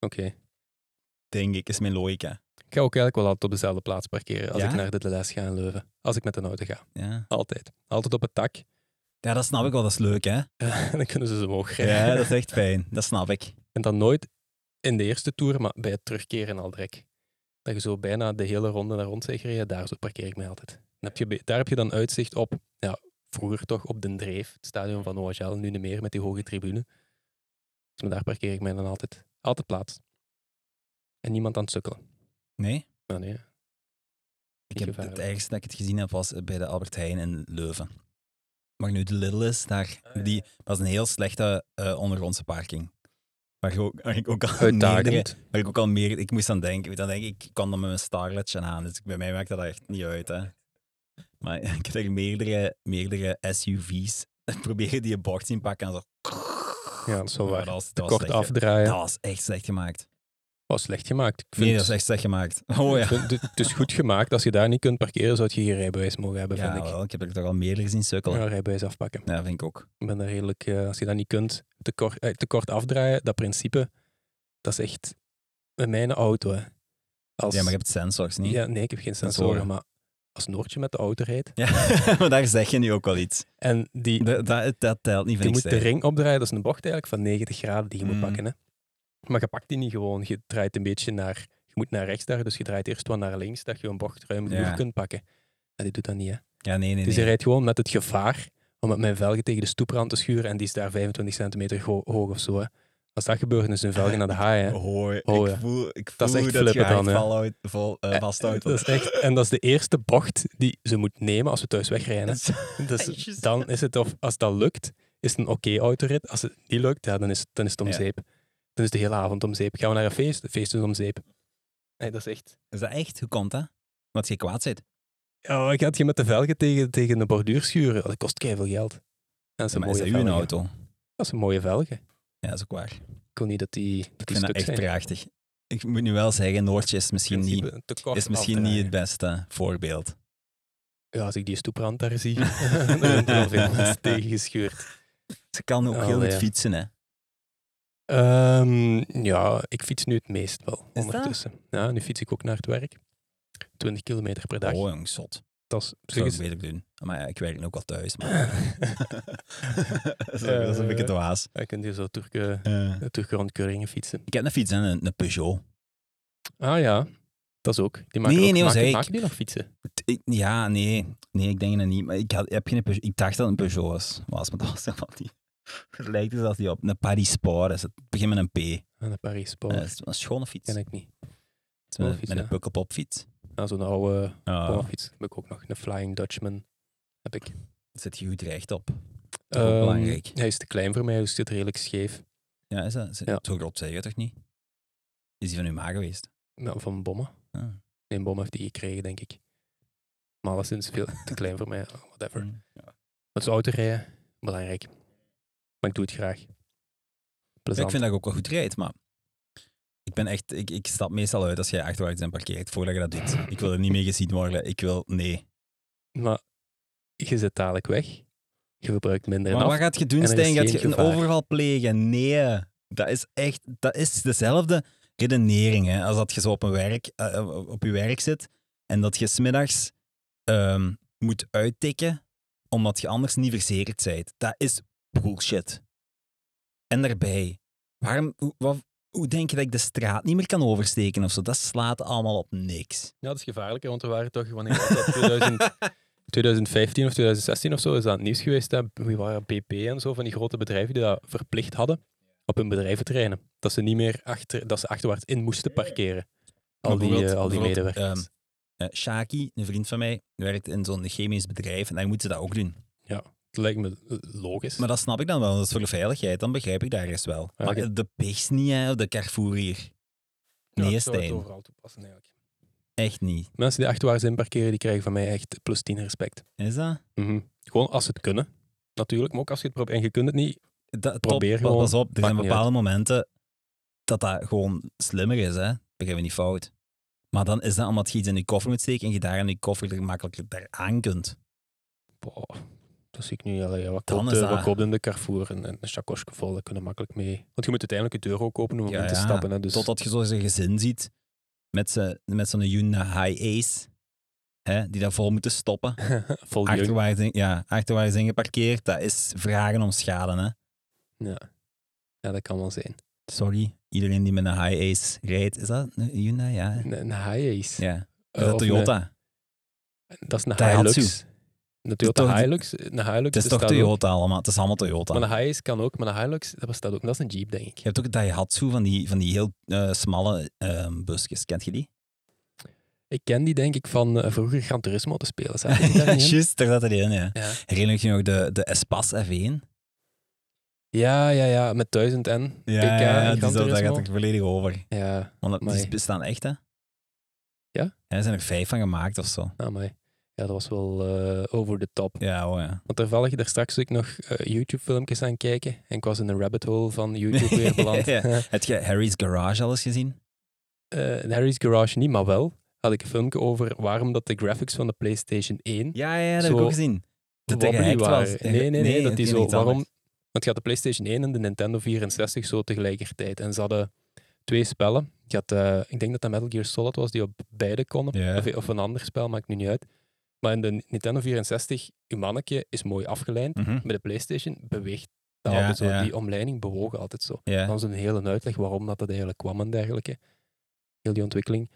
[SPEAKER 1] Oké.
[SPEAKER 2] denk ik, is mijn logica.
[SPEAKER 1] Ik ga ook eigenlijk wel altijd op dezelfde plaats parkeren als
[SPEAKER 2] Ja?
[SPEAKER 1] ik naar de les ga in Leuven. Als ik met een auto ga.
[SPEAKER 2] Ja.
[SPEAKER 1] Altijd. Altijd op het tak.
[SPEAKER 2] ja, dat snap ik wel, dat is leuk, hè?
[SPEAKER 1] dan kunnen ze ze omhoog rijden.
[SPEAKER 2] Ja, dat is echt fijn, dat snap ik.
[SPEAKER 1] En dan nooit in de eerste toer, maar bij het terugkeren al direct. Dat je zo bijna de hele ronde naar rond zegt, ja, daar zo parkeer ik mij altijd. Dan heb je, be- daar heb je dan uitzicht op, ja, vroeger toch op Den Dreef, het stadion van OHL, nu niet meer met die hoge tribune. Dus maar daar parkeer ik mij dan altijd, altijd plaats. En niemand aan het sukkelen.
[SPEAKER 2] Nee?
[SPEAKER 1] Nou, nee.
[SPEAKER 2] Ik heb
[SPEAKER 1] Gevaarlijk.
[SPEAKER 2] het ergste dat ik het gezien heb was bij de Albert Heijn in Leuven. Maar nu de Lidl is, daar,
[SPEAKER 1] Ah, ja.
[SPEAKER 2] die was een heel slechte eh, ondergrondse parking. Waar ik ook, waar ik ook al meerdere-
[SPEAKER 1] Uitdagend.
[SPEAKER 2] waar ik ook al meer, ik moest aan denken, ik weet aan denken, ik kwam dan met mijn starletje aan, dus bij mij maakt dat echt niet uit, hè. Maar ik heb er meerdere, meerdere SUV's proberen die een bocht in pakken en zo.
[SPEAKER 1] Ja, dat is wel
[SPEAKER 2] Maar
[SPEAKER 1] waar.
[SPEAKER 2] Dat was,
[SPEAKER 1] Te
[SPEAKER 2] dat was
[SPEAKER 1] kort
[SPEAKER 2] slecht ge-
[SPEAKER 1] afdraaien.
[SPEAKER 2] Dat was echt slecht gemaakt.
[SPEAKER 1] was slecht gemaakt. Ik vind,
[SPEAKER 2] Nee, dat is echt slecht gemaakt. Oh
[SPEAKER 1] ik
[SPEAKER 2] ja.
[SPEAKER 1] vind- het is goed gemaakt. Als je daar niet kunt parkeren, zou je geen rijbewijs mogen hebben,
[SPEAKER 2] Ja,
[SPEAKER 1] vind ik.
[SPEAKER 2] wel, ik heb er toch al meerdere gezien sukkelen.
[SPEAKER 1] Ja, rijbewijs afpakken.
[SPEAKER 2] Ja, vind ik ook.
[SPEAKER 1] Ik ben daar redelijk, eh, als je dat niet kunt, te kort, eh, te kort afdraaien, dat principe, dat is echt met mijn auto. Hè. Als,
[SPEAKER 2] Ja, maar je hebt sensors niet.
[SPEAKER 1] Ja, nee, ik heb geen sensoren,
[SPEAKER 2] Sensoren.
[SPEAKER 1] maar als Noortje met de auto rijdt
[SPEAKER 2] Ja, maar daar zeg je nu ook wel iets.
[SPEAKER 1] en die,
[SPEAKER 2] Dat, dat, dat telt niet,
[SPEAKER 1] die
[SPEAKER 2] vind ik
[SPEAKER 1] moet de
[SPEAKER 2] sterk.
[SPEAKER 1] ring opdraaien, dat is een bocht eigenlijk van 90 graden die je moet
[SPEAKER 2] Mm.
[SPEAKER 1] pakken. Hè. Maar je pakt die niet gewoon, je draait een beetje naar, je moet naar rechts daar, dus je draait eerst wat naar links, dat je een bocht ruim genoeg
[SPEAKER 2] Ja.
[SPEAKER 1] kunt pakken. Maar die doet dat niet, hè.
[SPEAKER 2] Ja, nee, nee,
[SPEAKER 1] Dus
[SPEAKER 2] nee.
[SPEAKER 1] hij rijdt gewoon met het gevaar om met mijn velgen tegen de stoeprand te schuren en die is daar 25 centimeter ho- hoog of zo. Hè. Als dat gebeurt, dan is hun velgen naar de haai. Hè.
[SPEAKER 2] Hoor,
[SPEAKER 1] Oh,
[SPEAKER 2] ik
[SPEAKER 1] ja.
[SPEAKER 2] voel, ik voel
[SPEAKER 1] Dat
[SPEAKER 2] dat,
[SPEAKER 1] is
[SPEAKER 2] is
[SPEAKER 1] echt
[SPEAKER 2] dat je
[SPEAKER 1] flippen dan,
[SPEAKER 2] echt
[SPEAKER 1] hè.
[SPEAKER 2] valhoudt, vol, eh, vasthoudt.
[SPEAKER 1] Dat is echt, en dat is de eerste bocht die ze moet nemen als we thuis wegrijden. hè. Dus
[SPEAKER 2] Jezus.
[SPEAKER 1] dan is het, of als dat lukt, is het een oké autorit. Als het niet lukt, ja, dan, is, het- dan is het om
[SPEAKER 2] Ja.
[SPEAKER 1] zeep. Dan is de hele avond om zeep. Gaan we naar een feest? Het feest is om zeep. Nee, dat is echt...
[SPEAKER 2] Is dat echt? Hoe komt dat? Wat je kwaad zit.
[SPEAKER 1] Ja, ik had je met de velgen tegen, tegen de borduur schuren. Dat kost keihard geld. En dat is een
[SPEAKER 2] maar is
[SPEAKER 1] mooie
[SPEAKER 2] dat uw
[SPEAKER 1] velgen.
[SPEAKER 2] auto?
[SPEAKER 1] Dat is een mooie velgen.
[SPEAKER 2] Ja, dat is ook waar. Ik
[SPEAKER 1] Ik wil niet dat die, dat die
[SPEAKER 2] vind dat
[SPEAKER 1] stuk
[SPEAKER 2] echt
[SPEAKER 1] zijn.
[SPEAKER 2] prachtig. Ik moet nu wel zeggen, Noortje is misschien, niet,
[SPEAKER 1] principe te kort
[SPEAKER 2] is misschien niet
[SPEAKER 1] afdraaien.
[SPEAKER 2] het beste voorbeeld.
[SPEAKER 1] Ja, als ik die stoeprand daar zie, dan zijn er al veel mensen tegengeschuurd.
[SPEAKER 2] Ze kan ook
[SPEAKER 1] Oh,
[SPEAKER 2] heel goed
[SPEAKER 1] ja.
[SPEAKER 2] fietsen, hè.
[SPEAKER 1] Ehm, ja, ik fiets nu het meest wel
[SPEAKER 2] dat?
[SPEAKER 1] ondertussen. Ja, nu fiets ik ook naar het werk. 20 kilometer per dag.
[SPEAKER 2] Oh, jong, zot.
[SPEAKER 1] dat is op
[SPEAKER 2] Dat
[SPEAKER 1] zich
[SPEAKER 2] zou
[SPEAKER 1] is-
[SPEAKER 2] ik beter doen. Maar ja, ik werk nu ook al thuis. Maar... dat, is, dat is een beetje
[SPEAKER 1] Eh.
[SPEAKER 2] dwaas.
[SPEAKER 1] Dan kun je zo Turken, Turken rond Keuringen fietsen.
[SPEAKER 2] Ik heb een fiets en een, een Peugeot.
[SPEAKER 1] Ah ja, dat is ook. Die maken
[SPEAKER 2] Nee,
[SPEAKER 1] ook,
[SPEAKER 2] nee,
[SPEAKER 1] maken,
[SPEAKER 2] wat zei ik?
[SPEAKER 1] maken die nog fietsen?
[SPEAKER 2] T- ik- ja, nee. Nee, ik denk het niet. Maar ik, had, ik heb geen Peugeot. Ik dacht dat het een Peugeot was, was maar dat was helemaal niet. Het lijkt er als die op. Een Paris Sport is het. Het begint met een P.
[SPEAKER 1] Ah, Aan de Paris Sport.
[SPEAKER 2] Dat Eh, is een schone fiets.
[SPEAKER 1] Ken ik niet.
[SPEAKER 2] Het is met,
[SPEAKER 1] fiets,
[SPEAKER 2] met
[SPEAKER 1] ja.
[SPEAKER 2] een pukkelpopfiets.
[SPEAKER 1] Nou, zo'n oude
[SPEAKER 2] Oh,
[SPEAKER 1] fiets heb ik ook nog. Een Flying Dutchman heb ik.
[SPEAKER 2] zit je goed recht op.
[SPEAKER 1] Ehm,
[SPEAKER 2] ook belangrijk.
[SPEAKER 1] Hij is te klein voor mij, dus het zit redelijk scheef.
[SPEAKER 2] Ja, is dat? Zo
[SPEAKER 1] Ja.
[SPEAKER 2] zo groot zijn je toch niet? Is die van uw ma geweest?
[SPEAKER 1] Nou, van bommen.
[SPEAKER 2] Ah.
[SPEAKER 1] Een bom heeft die gekregen, denk ik. Maar alleszins veel te klein voor mij.
[SPEAKER 2] Mm.
[SPEAKER 1] Whatever.
[SPEAKER 2] Ja.
[SPEAKER 1] Dat is autorijden, belangrijk. Maar ik doe het graag.
[SPEAKER 2] Ik
[SPEAKER 1] Plezant.
[SPEAKER 2] vind dat ik ook wel goed rijd, maar ik ben echt, ik, ik stap meestal uit als jij achterwaarts en parkeert voordat je dat doet. Ik wil er niet mee gezien worden. Ik wil, nee.
[SPEAKER 1] Maar je zit dadelijk weg. Je verbruikt minder
[SPEAKER 2] Maar
[SPEAKER 1] en
[SPEAKER 2] wat
[SPEAKER 1] af.
[SPEAKER 2] gaat je
[SPEAKER 1] En
[SPEAKER 2] doen,
[SPEAKER 1] er is
[SPEAKER 2] Stijn? Gaat
[SPEAKER 1] geen
[SPEAKER 2] je een
[SPEAKER 1] gevaar.
[SPEAKER 2] overval plegen? Nee. Dat is echt, dat is dezelfde redenering, hè. Als dat je zo op, een werk, eh, eh, op je werk zit en dat je smiddags ehm moet uittikken omdat je anders niet verzekerd bent. Dat is bullshit. En daarbij, waarom, hoe, wat- hoe denk je dat ik de straat niet meer kan oversteken of zo? Dat slaat allemaal op niks.
[SPEAKER 1] Ja, dat is gevaarlijker, want er waren toch wanneer was dat 2000 2015 of 2016 of zo is dat het nieuws geweest. Hè? Wie waren BP en zo van die grote bedrijven die dat verplicht hadden op hun bedrijventerreinen. Dat ze niet meer achter, dat ze achterwaarts in moesten parkeren. Al
[SPEAKER 2] Maar
[SPEAKER 1] die,
[SPEAKER 2] bijvoorbeeld-
[SPEAKER 1] eh, al die
[SPEAKER 2] bijvoorbeeld,
[SPEAKER 1] medewerkers.
[SPEAKER 2] ehm, Eh, Shaki, een vriend van mij, werkt in zo'n chemisch bedrijf en daar moeten ze dat ook doen.
[SPEAKER 1] het lijkt me eh, logisch.
[SPEAKER 2] Maar dat snap ik dan wel. Dat is voor de veiligheid. Dan begrijp ik daar eens wel.
[SPEAKER 1] Ja,
[SPEAKER 2] maar
[SPEAKER 1] ik-
[SPEAKER 2] de pers niet, hè, op de Carrefour hier.
[SPEAKER 1] Ja,
[SPEAKER 2] Nee,
[SPEAKER 1] ik zou het
[SPEAKER 2] Stijn.
[SPEAKER 1] overal toepassen eigenlijk.
[SPEAKER 2] Echt niet.
[SPEAKER 1] Mensen die achterwaarts in parkeren, die krijgen van mij echt plus 10 respect.
[SPEAKER 2] Is dat?
[SPEAKER 1] Mhm. Gewoon als ze het kunnen, natuurlijk. Maar ook als je het probeert. En je kunt het niet.
[SPEAKER 2] dat
[SPEAKER 1] Probeer
[SPEAKER 2] top,
[SPEAKER 1] gewoon,
[SPEAKER 2] Pas op, er
[SPEAKER 1] maakt
[SPEAKER 2] zijn
[SPEAKER 1] niet
[SPEAKER 2] bepaalde momenten dat dat gewoon slimmer is. Hè? Begrijp me niet fout. Maar dan is dat omdat je iets in je koffer moet steken en je daar in je koffer er makkelijker daar aan kunt.
[SPEAKER 1] Boah, dat zie ik nu. Allee, ja, wat
[SPEAKER 2] Dan
[SPEAKER 1] koopt,
[SPEAKER 2] is
[SPEAKER 1] eh,
[SPEAKER 2] dat-
[SPEAKER 1] wat koopt in de Carrefour? En, en een chakosje vol, daar kunnen makkelijk mee. Want je moet uiteindelijk je deur ook openen om
[SPEAKER 2] Ja,
[SPEAKER 1] in te
[SPEAKER 2] ja.
[SPEAKER 1] stappen. Hè, dus...
[SPEAKER 2] Totdat je zo zijn gezin ziet met, ze, met zo'n Hyundai High Ace, hè, die daar vol moeten stoppen.
[SPEAKER 1] Vol jeugd.
[SPEAKER 2] Achterwaarts, in- ja, achterwaarts ingeparkeerd, dat is vragen om schade. Hè?
[SPEAKER 1] Ja, dat kan wel zijn.
[SPEAKER 2] Sorry, iedereen die met een high ace rijdt, is dat een Hyundai? Ja. hè?
[SPEAKER 1] Een, een Hiace.
[SPEAKER 2] ja. Is
[SPEAKER 1] Eh,
[SPEAKER 2] dat
[SPEAKER 1] of
[SPEAKER 2] Toyota?
[SPEAKER 1] een- dat is een
[SPEAKER 2] Daihatsu.
[SPEAKER 1] Hilux. Een
[SPEAKER 2] toch
[SPEAKER 1] Toyota
[SPEAKER 2] die-
[SPEAKER 1] Hilux. Een Hilux
[SPEAKER 2] Het is toch
[SPEAKER 1] bestaat ook.
[SPEAKER 2] Toyota allemaal? Het is allemaal Toyota.
[SPEAKER 1] Maar een Hiace kan ook, maar een Hilux, dat bestaat ook. En Dat is een Jeep, denk ik.
[SPEAKER 2] Je hebt ook een Daihatsu van die, van die heel eh, smalle ehm, busjes. Kent je die?
[SPEAKER 1] Ik ken die, denk ik, van eh, vroeger Gran Turismo te spelen. zaten die daar niet in?
[SPEAKER 2] juist, daar zat er in, ja.
[SPEAKER 1] Ja.
[SPEAKER 2] Herinner je je nog de, de Espas F1?
[SPEAKER 1] Ja, ja, ja, met 1000 en PK
[SPEAKER 2] ja,
[SPEAKER 1] en
[SPEAKER 2] eh, die
[SPEAKER 1] Gran
[SPEAKER 2] zo, daar gaat
[SPEAKER 1] Turismo.
[SPEAKER 2] er volledig over.
[SPEAKER 1] Ja,
[SPEAKER 2] Want dat-
[SPEAKER 1] Amai.
[SPEAKER 2] die bestaan echt, hè?
[SPEAKER 1] Ja?
[SPEAKER 2] Er zijn er vijf van gemaakt of zo.
[SPEAKER 1] amai. Ja, dat was wel eh, over de top.
[SPEAKER 2] Ja, oh ja.
[SPEAKER 1] Want toevallig, daar straks was ik nog eh, YouTube-filmpjes aan kijken. En ik was in een rabbit hole van YouTube weer beland.
[SPEAKER 2] Ja. Heb je Harry's Garage al eens gezien?
[SPEAKER 1] Eh, in Harry's Garage niet, maar wel had ik een filmpje over waarom dat de graphics van de PlayStation 1
[SPEAKER 2] Ja, ja, dat
[SPEAKER 1] Zo
[SPEAKER 2] heb ik ook gezien. Dat hij
[SPEAKER 1] wobbly
[SPEAKER 2] gehackt was.
[SPEAKER 1] waren. Nee, nee, nee, dat die
[SPEAKER 2] is
[SPEAKER 1] zo...
[SPEAKER 2] iets anders.
[SPEAKER 1] Waarom? Want je had de PlayStation 1 en de Nintendo 64 zo tegelijkertijd. En ze hadden twee spellen. Je had, eh, ik denk dat dat Metal Gear Solid was, die op beide konden.
[SPEAKER 2] Ja.
[SPEAKER 1] Of, of een ander spel, maakt nu niet uit. Maar in de Nintendo 64, uw mannetje is mooi afgeleid.
[SPEAKER 2] Mhm.
[SPEAKER 1] Bij de PlayStation beweegt dat
[SPEAKER 2] Ja,
[SPEAKER 1] altijd zo.
[SPEAKER 2] ja.
[SPEAKER 1] Die omleiding bewoog altijd zo.
[SPEAKER 2] Ja.
[SPEAKER 1] Dan is een hele uitleg waarom dat, dat eigenlijk kwam en dergelijke. Heel die ontwikkeling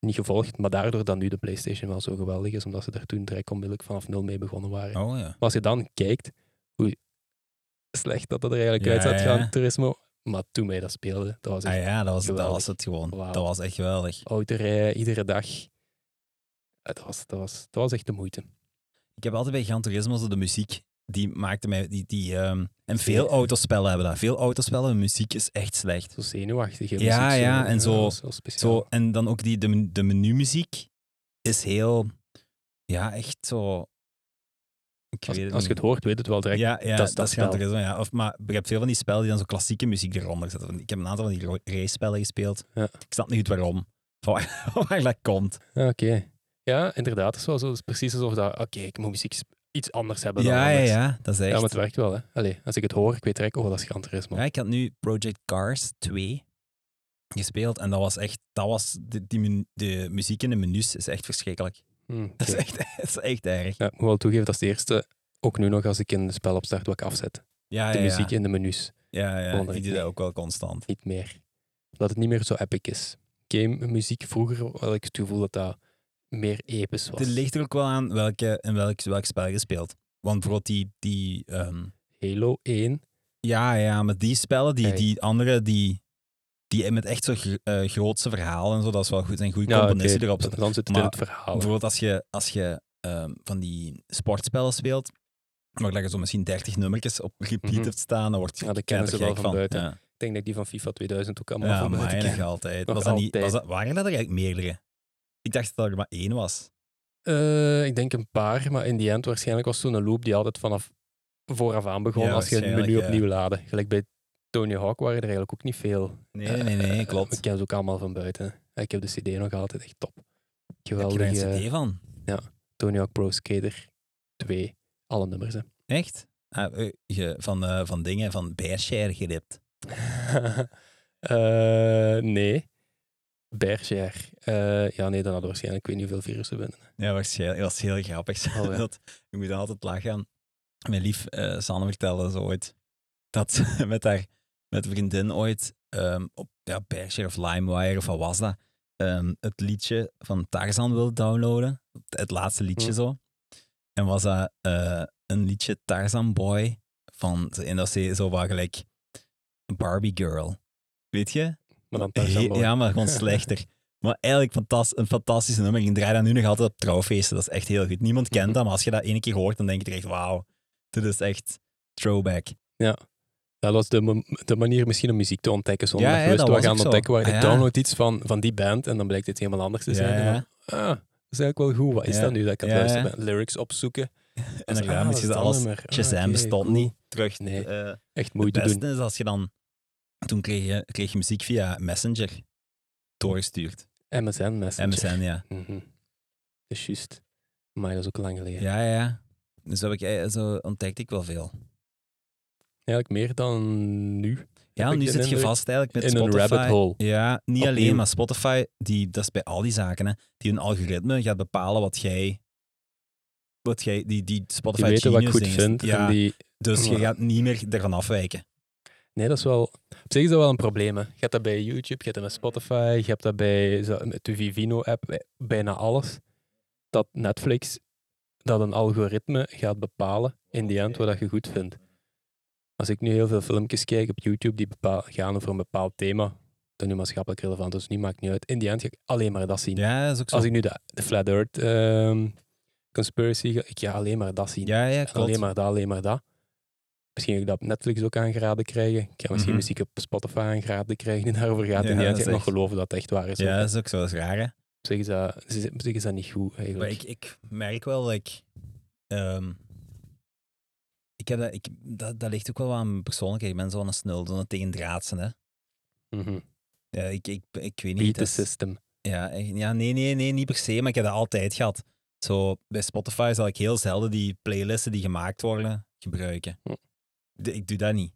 [SPEAKER 1] niet gevolgd, maar daardoor dat nu de PlayStation wel zo geweldig is, omdat ze daar toen direct onmiddellijk vanaf nul mee begonnen waren.
[SPEAKER 2] Oh ja.
[SPEAKER 1] Maar als je dan kijkt hoe slecht dat, dat er eigenlijk
[SPEAKER 2] Ja,
[SPEAKER 1] uit zat
[SPEAKER 2] ja,
[SPEAKER 1] gaan,
[SPEAKER 2] ja.
[SPEAKER 1] Turismo. Maar toen wij dat speelden, dat was
[SPEAKER 2] Ah
[SPEAKER 1] echt
[SPEAKER 2] ja, dat was, dat
[SPEAKER 1] geweldig.
[SPEAKER 2] was het gewoon.
[SPEAKER 1] Wauw.
[SPEAKER 2] Dat was echt geweldig.
[SPEAKER 1] autorijden, iedere dag. Het was, dat, was, dat was echt de moeite.
[SPEAKER 2] Ik heb altijd bij Gran Turismo zo de muziek, die maakte mij... Die, die, ehm, en veel autospellen hebben dat. Veel autospellen, de muziek is echt slecht.
[SPEAKER 1] Zo zenuwachtig.
[SPEAKER 2] Ja, ja, en zo-
[SPEAKER 1] speciaal.
[SPEAKER 2] Zo, en dan ook die, de, men- de menumuziek is heel... Ja, echt zo... Ik
[SPEAKER 1] als,
[SPEAKER 2] weet het
[SPEAKER 1] als je
[SPEAKER 2] niet.
[SPEAKER 1] het hoort, weet het wel direct.
[SPEAKER 2] Ja, ja
[SPEAKER 1] dat
[SPEAKER 2] dat,
[SPEAKER 1] is dat
[SPEAKER 2] is Gran
[SPEAKER 1] spel.
[SPEAKER 2] Turismo, ja. Of, maar je hebt veel van die spellen die dan zo klassieke muziek eronder zetten. Want Ik heb een aantal van die ro- race-spellen gespeeld.
[SPEAKER 1] Ja.
[SPEAKER 2] Ik snap niet goed waarom. Van waar, waar dat komt.
[SPEAKER 1] Ah, Oké. Ja, inderdaad. Het is, wel zo, het is precies alsof dat... Oké, ik moet muziek sp- iets anders hebben dan
[SPEAKER 2] Ja, ja,
[SPEAKER 1] anders.
[SPEAKER 2] ja. Dat is echt...
[SPEAKER 1] Ja, maar het werkt wel, hè. Allee, als ik het hoor, ik weet direct, oh, dat is Gran Turismo.
[SPEAKER 2] Ja, ik had nu Project Cars 2 gespeeld en dat was echt, dat was, de, die men- de muziek in de menus is echt verschrikkelijk.
[SPEAKER 1] Hm,
[SPEAKER 2] Dat is
[SPEAKER 1] oké.
[SPEAKER 2] echt, dat is echt erg.
[SPEAKER 1] Ja, ik moet wel toegeven, dat is de eerste, ook nu nog als ik een spel opstart, wat ik afzet.
[SPEAKER 2] Ja,
[SPEAKER 1] De
[SPEAKER 2] Ah, ja,
[SPEAKER 1] muziek
[SPEAKER 2] ja.
[SPEAKER 1] in de menus,
[SPEAKER 2] Ja, ja,
[SPEAKER 1] Gewoon
[SPEAKER 2] ik
[SPEAKER 1] echt
[SPEAKER 2] doe dat
[SPEAKER 1] niet.
[SPEAKER 2] ook wel constant.
[SPEAKER 1] niet meer. Dat het niet meer zo epic is. Game, muziek, vroeger had ik het gevoel dat dat meer episch was.
[SPEAKER 2] Het ligt er ook wel aan welke, in welk, welk spel je speelt. Want bijvoorbeeld die, die ehm,
[SPEAKER 1] Halo 1,
[SPEAKER 2] ja, ja, maar die spellen, die,
[SPEAKER 1] Kijk.
[SPEAKER 2] die andere, die, Die met echt zo gr- eh, grootse verhalen en zo, dat is wel goed. En goede
[SPEAKER 1] Ja,
[SPEAKER 2] componisten
[SPEAKER 1] oké,
[SPEAKER 2] erop zitten.
[SPEAKER 1] Dan zit het in
[SPEAKER 2] Maar
[SPEAKER 1] het verhaal.
[SPEAKER 2] Bijvoorbeeld als je, als je ehm, van die sportspellen speelt, waar dat je zo misschien 30 nummertjes op repeat
[SPEAKER 1] Mhm.
[SPEAKER 2] hebt staan, dan word je
[SPEAKER 1] Ja, dat kennen ze wel
[SPEAKER 2] knettergek
[SPEAKER 1] van buiten.
[SPEAKER 2] Ja,
[SPEAKER 1] Ik denk dat ik die van FIFA 2000 ook allemaal
[SPEAKER 2] ja
[SPEAKER 1] van buiten
[SPEAKER 2] maar
[SPEAKER 1] ken.
[SPEAKER 2] enig altijd.
[SPEAKER 1] Nog
[SPEAKER 2] Was dat niet,
[SPEAKER 1] altijd.
[SPEAKER 2] was dat, waren dat er eigenlijk meerdere? Ik dacht dat er maar één was.
[SPEAKER 1] Eh, ik denk een paar, maar in die end waarschijnlijk was toen een loop die altijd vanaf vooraf aan begon
[SPEAKER 2] Ja,
[SPEAKER 1] als je het menu
[SPEAKER 2] waarschijnlijk, ja.
[SPEAKER 1] opnieuw laadde. Gelijk bij Tony Hawk waren er eigenlijk ook niet veel.
[SPEAKER 2] Nee, nee, nee,
[SPEAKER 1] Eh,
[SPEAKER 2] klopt.
[SPEAKER 1] Ik ken ze ook allemaal van buiten. Ik heb de CD nog altijd echt top.
[SPEAKER 2] Heb je
[SPEAKER 1] Geweldig.
[SPEAKER 2] daar een cd van?
[SPEAKER 1] Tony Hawk Pro Skater 2. Alle nummers, hè.
[SPEAKER 2] Echt? Ah, eh, je- van, eh, van dingen, van Bearshare geript.
[SPEAKER 1] Eh, nee. Bergère. Eh, ja, nee, dan hadden we waarschijnlijk ik weet niet hoeveel virussen binnen.
[SPEAKER 2] Ja, waarschijnlijk. Dat was heel grappig.
[SPEAKER 1] Oh, ja.
[SPEAKER 2] dat, ik moet dan altijd lachen. Mijn lief eh Sanne vertelde zo ooit dat ze met haar met vriendin ooit ehm, op ja, Berkshire of LimeWire of wat was dat, ehm, het liedje van Tarzan wilde downloaden. Het, het laatste liedje
[SPEAKER 1] Hm.
[SPEAKER 2] zo. En was dat eh, een liedje Tarzan Boy van, en dat is zo wat gelijk Barbie Girl. Weet je?
[SPEAKER 1] Maar dan
[SPEAKER 2] He-
[SPEAKER 1] Tarzan Boy.
[SPEAKER 2] ja, maar gewoon slechter. Maar eigenlijk fantas- een fantastisch nummer. Ik draai dat nu nog altijd op trouwfeesten. Dat is echt heel goed. Niemand kent
[SPEAKER 1] Mhm.
[SPEAKER 2] dat, maar als je dat één keer hoort, dan denk je er echt, wauw, dit is echt throwback.
[SPEAKER 1] Dat was de, ma- de manier misschien om muziek te ontdekken zonder
[SPEAKER 2] Ja,
[SPEAKER 1] dat je
[SPEAKER 2] hè,
[SPEAKER 1] wist
[SPEAKER 2] dat
[SPEAKER 1] wat
[SPEAKER 2] was
[SPEAKER 1] gaan
[SPEAKER 2] ook zo.
[SPEAKER 1] ontdekken. Waar je
[SPEAKER 2] Ah, ja.
[SPEAKER 1] downloadt iets van, van die band en dan blijkt het helemaal anders te
[SPEAKER 2] Ja,
[SPEAKER 1] zijn. En dan,
[SPEAKER 2] ja.
[SPEAKER 1] ah, dat is eigenlijk wel goed. Wat is
[SPEAKER 2] Ja.
[SPEAKER 1] dat nu dat ik aan het
[SPEAKER 2] Ja,
[SPEAKER 1] luisteren ben? Lyrics opzoeken.
[SPEAKER 2] En
[SPEAKER 1] ah,
[SPEAKER 2] dan gaan
[SPEAKER 1] dat is
[SPEAKER 2] misschien
[SPEAKER 1] dat
[SPEAKER 2] alles.
[SPEAKER 1] nummer. Ah,
[SPEAKER 2] Shazam
[SPEAKER 1] oké,
[SPEAKER 2] bestond
[SPEAKER 1] cool.
[SPEAKER 2] niet. Terug.
[SPEAKER 1] Nee.
[SPEAKER 2] eh,
[SPEAKER 1] Echt
[SPEAKER 2] het
[SPEAKER 1] moeite
[SPEAKER 2] beste
[SPEAKER 1] doen.
[SPEAKER 2] is als je dan... Toen kreeg je, kreeg je muziek via Messenger doorgestuurd.
[SPEAKER 1] MSN Messenger.
[SPEAKER 2] MSN, ja.
[SPEAKER 1] Mhm. Dat is juist. Maar dat is ook lang geleden.
[SPEAKER 2] Ja, ja, ja. Dus heb ik, eh, zo ontdekte ik wel veel.
[SPEAKER 1] Eigenlijk meer dan nu.
[SPEAKER 2] Ja,
[SPEAKER 1] ik
[SPEAKER 2] nu
[SPEAKER 1] de
[SPEAKER 2] zit je
[SPEAKER 1] indruk
[SPEAKER 2] vast eigenlijk met
[SPEAKER 1] in een
[SPEAKER 2] Spotify.
[SPEAKER 1] rabbit hole.
[SPEAKER 2] Ja, niet
[SPEAKER 1] Opnieuw.
[SPEAKER 2] alleen, maar Spotify, die, dat is bij al die zaken, hè, die een algoritme gaat bepalen wat jij... Wat jij die, die Spotify
[SPEAKER 1] Die weten wat ik
[SPEAKER 2] Genius
[SPEAKER 1] goed
[SPEAKER 2] ding is.
[SPEAKER 1] vind.
[SPEAKER 2] Ja,
[SPEAKER 1] En die,
[SPEAKER 2] dus je
[SPEAKER 1] Ja.
[SPEAKER 2] gaat niet meer ervan afwijken.
[SPEAKER 1] Nee, dat is wel... Op zich is dat wel een probleem. Hè. Je hebt dat bij YouTube, je hebt dat bij Spotify, je hebt dat bij zo- met de Vivino-app, bij- bijna alles. Dat Netflix dat een algoritme gaat bepalen in die end wat dat je goed vindt. Als ik nu heel veel filmpjes kijk op YouTube die bepaal- gaan over een bepaald thema, dat nu maatschappelijk relevant is, niet maakt niet uit. In die end ga ik alleen maar dat zien.
[SPEAKER 2] Ja, dat is ook zo.
[SPEAKER 1] Als ik nu de, de Flat Earth ehm, conspiracy ga, ik ga alleen maar dat zien.
[SPEAKER 2] ja, ja,
[SPEAKER 1] En alleen
[SPEAKER 2] klopt.
[SPEAKER 1] maar dat, alleen maar dat. Misschien ga ik dat op Netflix ook aangeraden krijgen. Ik ga misschien
[SPEAKER 2] Mhm.
[SPEAKER 1] muziek op Spotify aangeraden krijgen die daarover gaat.
[SPEAKER 2] Ja,
[SPEAKER 1] en die
[SPEAKER 2] dat
[SPEAKER 1] gaat
[SPEAKER 2] is
[SPEAKER 1] nog
[SPEAKER 2] echt-
[SPEAKER 1] geloven dat het echt waar is.
[SPEAKER 2] Ja,
[SPEAKER 1] Want
[SPEAKER 2] dat is ook zo. Dat is raar, hè.
[SPEAKER 1] Op zich is dat, op zich- op zich is dat niet goed
[SPEAKER 2] Maar
[SPEAKER 1] eigenlijk.
[SPEAKER 2] ik, ik merk wel dat ik... ehm, ik heb dat, ik, dat, dat ligt ook wel aan mijn persoonlijkheid. Ik ben zo'n snul, zo'n tegendraadse, hè.
[SPEAKER 1] Mhm.
[SPEAKER 2] Ja, ik, ik, ik weet niet.
[SPEAKER 1] Beat the
[SPEAKER 2] dat is-
[SPEAKER 1] system.
[SPEAKER 2] Ja, echt- ja nee, nee, nee, niet per se, maar ik heb dat altijd gehad. Zo, bij Spotify zal ik heel zelden die playlisten die gemaakt worden gebruiken.
[SPEAKER 1] Hm.
[SPEAKER 2] De- ik doe dat niet.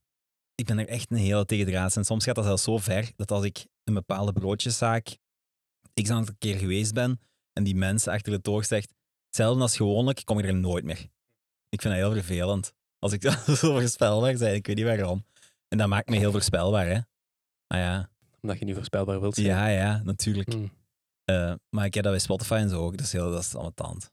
[SPEAKER 2] Ik ben er echt een hele tegendraads. En soms gaat dat zelfs zo ver dat als ik een bepaalde broodjeszaak x aantal keer geweest ben en die mensen achter de toog zegt, hetzelfde als gewoonlijk, kom ik er nooit meer. Ik vind dat heel vervelend. Als ik zo voorspelbaar ben, ik weet niet waarom. En dat maakt me heel voorspelbaar, hè. Ah ja,
[SPEAKER 1] Omdat je niet voorspelbaar wilt zijn.
[SPEAKER 2] ja, ja, natuurlijk.
[SPEAKER 1] Mm.
[SPEAKER 2] Eh, maar ik heb dat bij Spotify en zo ook, dus heel, dat is ambetant.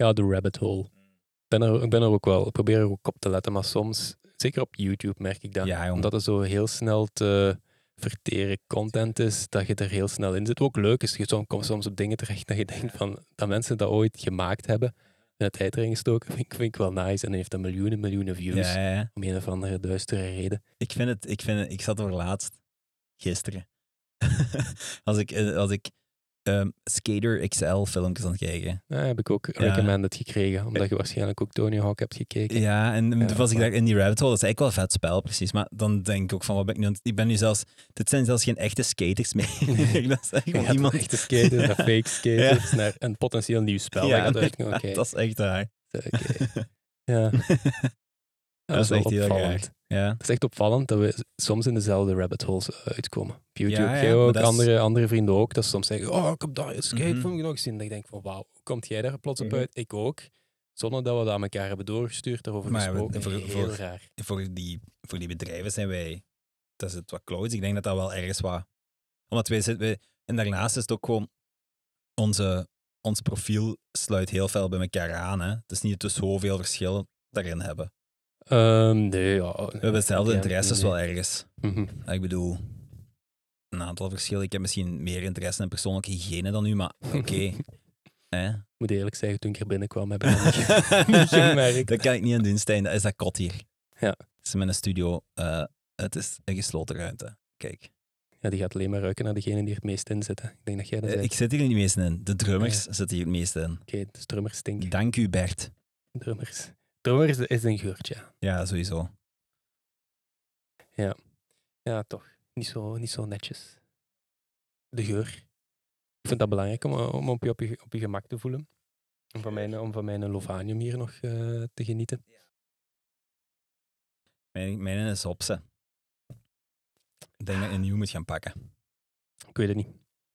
[SPEAKER 1] Ja, de rabbit hole. Ik ben, er, ik ben er ook wel. Ik probeer er ook op te letten. Maar soms, zeker op YouTube, merk ik dat.
[SPEAKER 2] Ja, jong.
[SPEAKER 1] Omdat het zo heel snel te verteren content is, dat je er heel snel in zit. Wat ook leuk is, je som- komt soms op dingen terecht dat je denkt van, dat mensen dat ooit gemaakt hebben en het tijd erin gestoken, vind ik, vind ik wel nice. En dan heeft dat miljoenen, miljoenen views.
[SPEAKER 2] Ja, ja, ja.
[SPEAKER 1] Om een of andere duistere reden.
[SPEAKER 2] Ik vind het, ik vind het, ik zat er laatst, gisteren, als ik, eh, als ik ehm, Skater XL filmpjes aan het kijken.
[SPEAKER 1] Nou, heb ik ook recommended gekregen, omdat je waarschijnlijk ook Tony Hawk hebt gekeken.
[SPEAKER 2] Ja, en
[SPEAKER 1] Ja,
[SPEAKER 2] toen was ik
[SPEAKER 1] maar-
[SPEAKER 2] daar in die rabbit hole, dat is eigenlijk wel een vet spel, precies. Maar dan denk ik ook van, wat ben ik nu aan het- Ik ben nu zelfs, dit zijn zelfs geen echte skaters meer. dat is echt
[SPEAKER 1] Je
[SPEAKER 2] gewoon
[SPEAKER 1] gaat
[SPEAKER 2] iemand...
[SPEAKER 1] van echte skaters naar fake skaters
[SPEAKER 2] Ja.
[SPEAKER 1] naar een potentieel nieuw spel.
[SPEAKER 2] Ja,
[SPEAKER 1] Ja, dat,
[SPEAKER 2] ja, dat is echt raar.
[SPEAKER 1] Ja.
[SPEAKER 2] Dat is
[SPEAKER 1] wel
[SPEAKER 2] echt heel
[SPEAKER 1] opvallend.
[SPEAKER 2] raar. Ja.
[SPEAKER 1] Het is echt opvallend dat we s- soms in dezelfde rabbit holes eh, uitkomen. Op YouTube,
[SPEAKER 2] Ja, ja,
[SPEAKER 1] jij
[SPEAKER 2] maar
[SPEAKER 1] ook,
[SPEAKER 2] dat is-
[SPEAKER 1] andere, andere vrienden ook, dat ze soms zeggen, oh, ik heb daar een
[SPEAKER 2] Mhm.
[SPEAKER 1] skatefilm nog gezien. Dat ik denk van, wauw, hoe komt jij daar plots op
[SPEAKER 2] Mhm.
[SPEAKER 1] uit? Ik ook. Zonder dat we dat aan elkaar hebben doorgestuurd, daarover
[SPEAKER 2] Maar we-
[SPEAKER 1] gesproken.
[SPEAKER 2] voor-
[SPEAKER 1] Heel
[SPEAKER 2] voor-
[SPEAKER 1] raar.
[SPEAKER 2] voor die, voor die bedrijven zijn wij, dat is het wat close. Ik denk dat dat wel ergens wat. Omdat wij zitten, wij- en daarnaast is het ook gewoon, onze, ons profiel sluit heel veel bij elkaar aan. Hè? Het is niet dat we zoveel verschillen daarin hebben.
[SPEAKER 1] Ehm, nee, ja.
[SPEAKER 2] We hebben dezelfde
[SPEAKER 1] Ja,
[SPEAKER 2] interesses
[SPEAKER 1] nee.
[SPEAKER 2] wel ergens.
[SPEAKER 1] Mhm.
[SPEAKER 2] Ik bedoel, een aantal verschillen. Ik heb misschien meer interesse in persoonlijke hygiëne dan u, maar oké. hè?
[SPEAKER 1] Ik moet eerlijk zeggen, toen ik hier binnenkwam heb ik dat niet niet gemerkt.
[SPEAKER 2] Dat kan ik niet aan doen, Stijn. Dat is dat kot hier.
[SPEAKER 1] Ja.
[SPEAKER 2] Het is mijn studio. eh, het is een gesloten ruimte. Kijk.
[SPEAKER 1] Ja, die gaat alleen maar ruiken naar degene die er het meest in zitten. Ik denk dat jij dat
[SPEAKER 2] Eh,
[SPEAKER 1] zei.
[SPEAKER 2] ik zit hier niet het meest in. De drummers zitten hier het meest in.
[SPEAKER 1] Oké, dus drummers stinken.
[SPEAKER 2] Dank u, Bert.
[SPEAKER 1] Drummers. Drummers is een geurtje.
[SPEAKER 2] Ja, sowieso.
[SPEAKER 1] Ja, toch. Niet zo, niet zo netjes. De geur. Ik vind dat belangrijk om, eh, om op, je, op, je, op je gemak te voelen. Om van mijn, om van mijn Lovanium hier nog eh, te genieten.
[SPEAKER 2] Mijn, mijn is hopse. Ik denk dat je een nieuw moet gaan pakken.
[SPEAKER 1] Ik weet het niet.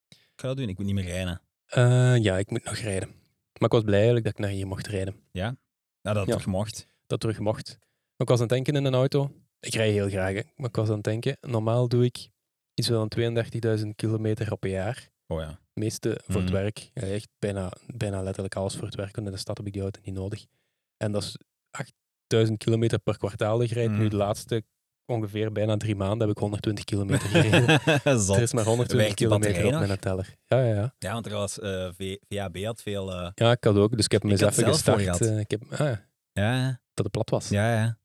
[SPEAKER 2] Ik ga dat doen. Ik moet niet meer rijden.
[SPEAKER 1] Eh, ja, ik moet nog rijden. Maar ik was blij eigenlijk dat ik naar hier mocht rijden.
[SPEAKER 2] Nou, dat
[SPEAKER 1] Ja.
[SPEAKER 2] toch mocht.
[SPEAKER 1] Dat terug mocht. Maar ik was aan het denken in een auto. Ik rij heel graag, hè. maar ik was aan het denken. Normaal doe ik iets van 32.000 kilometer op een jaar.
[SPEAKER 2] Oh ja.
[SPEAKER 1] meeste voor het
[SPEAKER 2] Mhm.
[SPEAKER 1] werk. Ja, echt bijna, bijna letterlijk alles voor het werk. Want in de stad heb ik die auto niet nodig. En dat is 8000 kilometer per kwartaal dat ik rijd. Nu
[SPEAKER 2] Mhm.
[SPEAKER 1] de laatste ongeveer bijna drie maanden heb ik 120 kilometer gereden.
[SPEAKER 2] Zot.
[SPEAKER 1] er is maar 120
[SPEAKER 2] Werkt die
[SPEAKER 1] kilometer op
[SPEAKER 2] batterij
[SPEAKER 1] mijn teller. Ja, ja, ja.
[SPEAKER 2] Ja, want er was eh, V- VAB had veel. eh,
[SPEAKER 1] ja, ik had ook. Dus ik heb hem
[SPEAKER 2] Ik
[SPEAKER 1] eens
[SPEAKER 2] had
[SPEAKER 1] even
[SPEAKER 2] zelf voor
[SPEAKER 1] gestart.
[SPEAKER 2] gehad.
[SPEAKER 1] eh, ik heb, ah, ja,
[SPEAKER 2] ja,
[SPEAKER 1] dat het plat was.
[SPEAKER 2] ja, ja.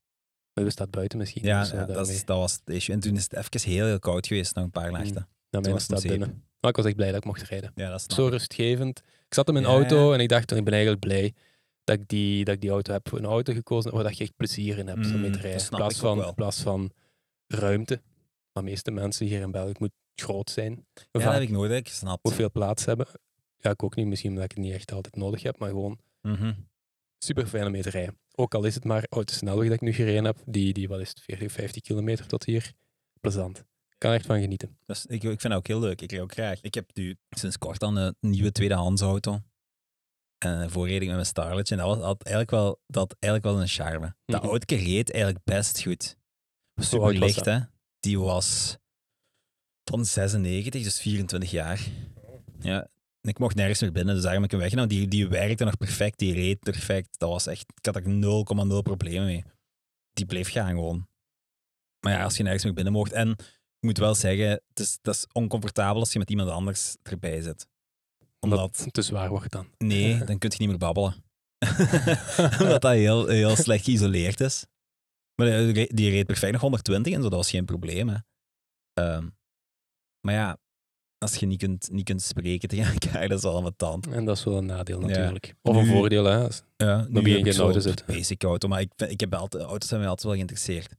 [SPEAKER 1] Maar we staat buiten misschien.
[SPEAKER 2] Ja,
[SPEAKER 1] dus, eh,
[SPEAKER 2] ja, dat,
[SPEAKER 1] daarmee.
[SPEAKER 2] is, dat was het issue. En toen is het even heel, heel koud geweest, nog een paar nachten.
[SPEAKER 1] Nou,
[SPEAKER 2] toen
[SPEAKER 1] mijn
[SPEAKER 2] was het
[SPEAKER 1] staat
[SPEAKER 2] om zeep.
[SPEAKER 1] binnen. Maar ik was echt blij dat ik mocht rijden.
[SPEAKER 2] Ja, dat snap
[SPEAKER 1] zo
[SPEAKER 2] ik.
[SPEAKER 1] rustgevend. Ik zat in mijn
[SPEAKER 2] Ah. Ja,
[SPEAKER 1] auto
[SPEAKER 2] ja.
[SPEAKER 1] en ik dacht, ik ben eigenlijk blij dat ik die, dat ik die auto heb. Een auto gekozen waar dat je echt plezier in hebt om mee
[SPEAKER 2] Mm,
[SPEAKER 1] te
[SPEAKER 2] dat
[SPEAKER 1] rijden. In
[SPEAKER 2] snap
[SPEAKER 1] plaats
[SPEAKER 2] ik ook
[SPEAKER 1] van,
[SPEAKER 2] wel.
[SPEAKER 1] in plaats van ruimte. Maar de meeste mensen hier in België het moet groot zijn.
[SPEAKER 2] Ja,
[SPEAKER 1] Vaak
[SPEAKER 2] dat heb ik nooit echt gesnapt.
[SPEAKER 1] Hoeveel plaats hebben. Ja, ik ook niet. Misschien omdat ik het niet echt altijd nodig heb. Maar gewoon
[SPEAKER 2] Mhm.
[SPEAKER 1] super fijn om mee te rijden. Ook al is het maar uit de snelweg dat ik nu gereden heb. Die, die wat is het, 40, 50 kilometer tot hier. Plezant. Ik kan er echt van genieten.
[SPEAKER 2] Dus ik, ik vind dat ook heel leuk. Ik rij ook graag. Ik heb nu sinds kort dan een nieuwe tweedehands auto. En een voorreding met mijn Starletje. En dat, was, had eigenlijk wel, dat had eigenlijk wel een charme. Dat
[SPEAKER 1] Mhm.
[SPEAKER 2] oudje reed eigenlijk best goed. Was
[SPEAKER 1] Hoe oud
[SPEAKER 2] super
[SPEAKER 1] was
[SPEAKER 2] licht,
[SPEAKER 1] dat?
[SPEAKER 2] hè. Die was van 96, dus 24 jaar. Ja. En ik mocht nergens meer binnen, dus daarom heb ik hem weggenomen. Die, die werkte nog perfect, die reed perfect. Dat was echt, ik had er 0,0 problemen mee. Die bleef gaan gewoon. Maar ja, als je nergens meer binnen mocht. En ik moet wel zeggen, het is, dat is oncomfortabel als je met iemand anders erbij zit. Omdat,
[SPEAKER 1] het te zwaar wordt dan.
[SPEAKER 2] nee, dan kun je niet meer babbelen. Omdat dat heel, heel slecht geïsoleerd is. Maar die re- die reed perfect nog 120 en zo, dat was geen probleem. Hè. Ehm, maar ja, als je niet kunt, niet kunt spreken tegen elkaar, dat is allemaal tand.
[SPEAKER 1] En dat is wel een nadeel
[SPEAKER 2] Ja.
[SPEAKER 1] natuurlijk. Of een
[SPEAKER 2] Nu-
[SPEAKER 1] voordeel, hè. als-
[SPEAKER 2] Ja,
[SPEAKER 1] Dan
[SPEAKER 2] nu
[SPEAKER 1] begin
[SPEAKER 2] heb
[SPEAKER 1] je
[SPEAKER 2] ik
[SPEAKER 1] in auto
[SPEAKER 2] zo'n
[SPEAKER 1] zitten.
[SPEAKER 2] Basic auto, maar ik, vind- ik heb altijd, auto's zijn mij altijd wel geïnteresseerd.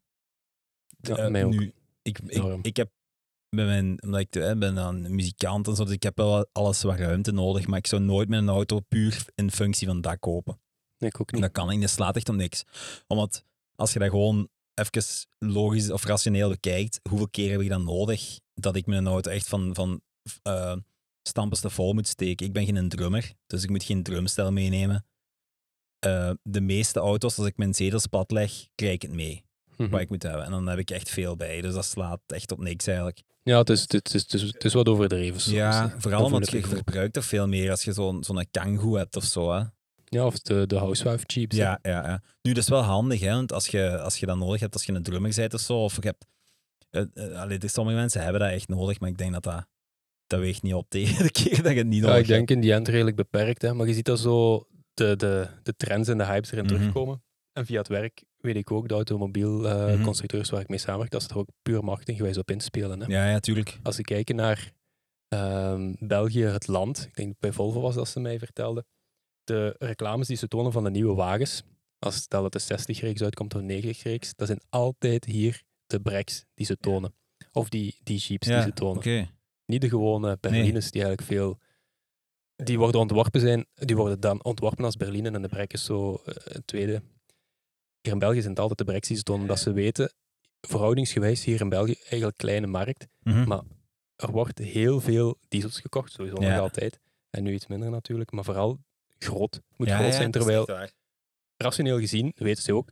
[SPEAKER 1] Ja,
[SPEAKER 2] Eh,
[SPEAKER 1] mij ook.
[SPEAKER 2] Nu, ik, ik,
[SPEAKER 1] Enorm.
[SPEAKER 2] ik heb, bij mijn, omdat ik eh, ben dan muzikant en zo, dus ik heb wel alles wat ruimte nodig, maar ik zou nooit mijn auto puur in functie van dat kopen.
[SPEAKER 1] Nee, ik ook niet.
[SPEAKER 2] Dat kan ik, dat slaat echt om niks. Omdat als je dat gewoon even logisch of rationeel bekijkt, hoeveel keer heb ik dan nodig dat ik mijn auto echt van, van eh stampers te vol moet steken? Ik ben geen drummer, dus ik moet geen drumstel meenemen. Eh, de meeste auto's, als ik mijn zetels plat leg, krijg ik het mee
[SPEAKER 1] Mhm.
[SPEAKER 2] wat ik moet hebben. En dan heb ik echt veel bij. Dus dat slaat echt op niks eigenlijk.
[SPEAKER 1] Ja, het is, het, is, het, is, het is wat overdreven soms. hè. Dat
[SPEAKER 2] vooral
[SPEAKER 1] voel
[SPEAKER 2] omdat
[SPEAKER 1] ik
[SPEAKER 2] je
[SPEAKER 1] ook wel.
[SPEAKER 2] verbruikt er veel meer als je zo'n zo'n kangoe hebt of zo. Hè.
[SPEAKER 1] Ja, of de, de housewife jeeps. hè.
[SPEAKER 2] Ja, ja, ja. Nu, dat is wel handig, hè, want als je, als je dat nodig hebt, als je een drummer bent of zo, of je hebt... eh, eh, allee, er- sommige mensen hebben dat echt nodig, maar ik denk dat dat, dat weegt niet op tegen de keer dat je het niet
[SPEAKER 1] Ja,
[SPEAKER 2] nodig
[SPEAKER 1] ik denk in die end redelijk beperkt, hè. maar je ziet dat zo de, de, de trends en de hypes erin
[SPEAKER 2] Mhm.
[SPEAKER 1] terugkomen. En via het werk weet ik ook, de automobielconstructeurs
[SPEAKER 2] Mhm.
[SPEAKER 1] constructeurs waar ik mee samenwerk, dat ze er ook puur marketinggewijs op inspelen. Hè.
[SPEAKER 2] hebt. Ja, ja, tuurlijk.
[SPEAKER 1] Als we kijken naar ehm, België, het land, ik denk dat het bij Volvo was dat ze mij vertelden, de reclames die ze tonen van de nieuwe wagens, als stel dat de 60-reeks uitkomt of 90-reeks, dat zijn altijd hier de Breks die ze tonen. Of die, die Jeeps
[SPEAKER 2] Ja,
[SPEAKER 1] die ze tonen.
[SPEAKER 2] Oké.
[SPEAKER 1] Niet de gewone Berlines die eigenlijk veel... Die worden ontworpen zijn, die worden dan ontworpen als Berlinen en de Brek is zo eh, het tweede. Hier in België zijn het altijd de Breks die ze tonen, omdat ze weten, verhoudingsgewijs hier in België, eigenlijk kleine markt,
[SPEAKER 2] Mhm.
[SPEAKER 1] Maar- er wordt heel veel diesels gekocht, sowieso
[SPEAKER 2] Ja.
[SPEAKER 1] nog altijd. En nu iets minder natuurlijk, maar vooral groot. Het Moet
[SPEAKER 2] Ja,
[SPEAKER 1] groot
[SPEAKER 2] ja,
[SPEAKER 1] zijn,
[SPEAKER 2] dat is echt
[SPEAKER 1] terwijl
[SPEAKER 2] waar.
[SPEAKER 1] rationeel gezien, weten ze ook,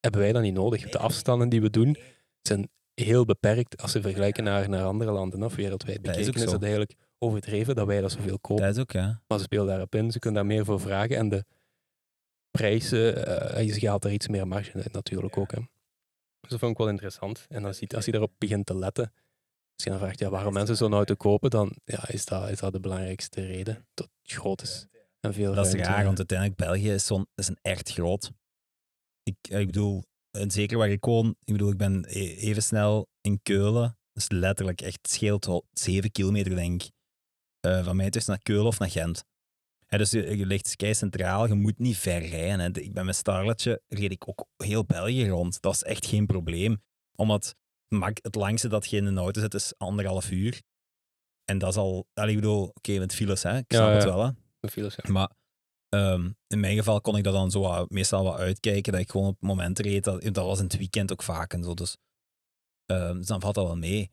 [SPEAKER 1] hebben wij dat niet nodig. De afstanden die we doen zijn heel beperkt als ze vergelijken naar, naar andere landen of wereldwijd
[SPEAKER 2] Dat is
[SPEAKER 1] bekeken.
[SPEAKER 2] ook zo.
[SPEAKER 1] dat eigenlijk overdreven dat wij dat zoveel kopen.
[SPEAKER 2] Dat is ook, ja.
[SPEAKER 1] Maar ze spelen daarop in, ze kunnen daar meer voor vragen. En de prijzen, eh je haalt daar iets meer marge in natuurlijk ook. Hè. Dus dat vond ik wel interessant. En als je, als je daarop begint te letten, Als je dan vraagt ja, waarom mensen zo'n
[SPEAKER 2] eh,
[SPEAKER 1] auto kopen, dan ja, is, dat, is dat de belangrijkste reden. Dat het groot is en veel
[SPEAKER 2] Dat is
[SPEAKER 1] ruimte.
[SPEAKER 2] raar, want uiteindelijk België is, zo'n, is een echt groot. Ik, eh, ik bedoel, en zeker waar ik woon, ik bedoel, ik ben e- even snel in Keulen. Dus letterlijk echt, het scheelt wel 7 kilometer, denk ik, eh, van mij tussen naar Keulen of naar Gent. Hè, dus je, je ligt kei centraal, je moet niet ver rijden. Hè. Ik ben met Starletje, reed ik ook heel België rond. Dat is echt geen probleem. Omdat mak- het langste dat je in een auto zit is anderhalf uur. En dat is al, allee, ik bedoel, oké, met files, hè. ik
[SPEAKER 1] Ja,
[SPEAKER 2] snap het
[SPEAKER 1] ja.
[SPEAKER 2] wel. Hè.
[SPEAKER 1] De files, ja.
[SPEAKER 2] Maar ehm, in mijn geval kon ik dat dan zo wat- meestal wat uitkijken, dat ik gewoon op momenten reed. Dat, dat was in het weekend ook vaak en zo. Dus, ehm, dus dan valt dat wel mee.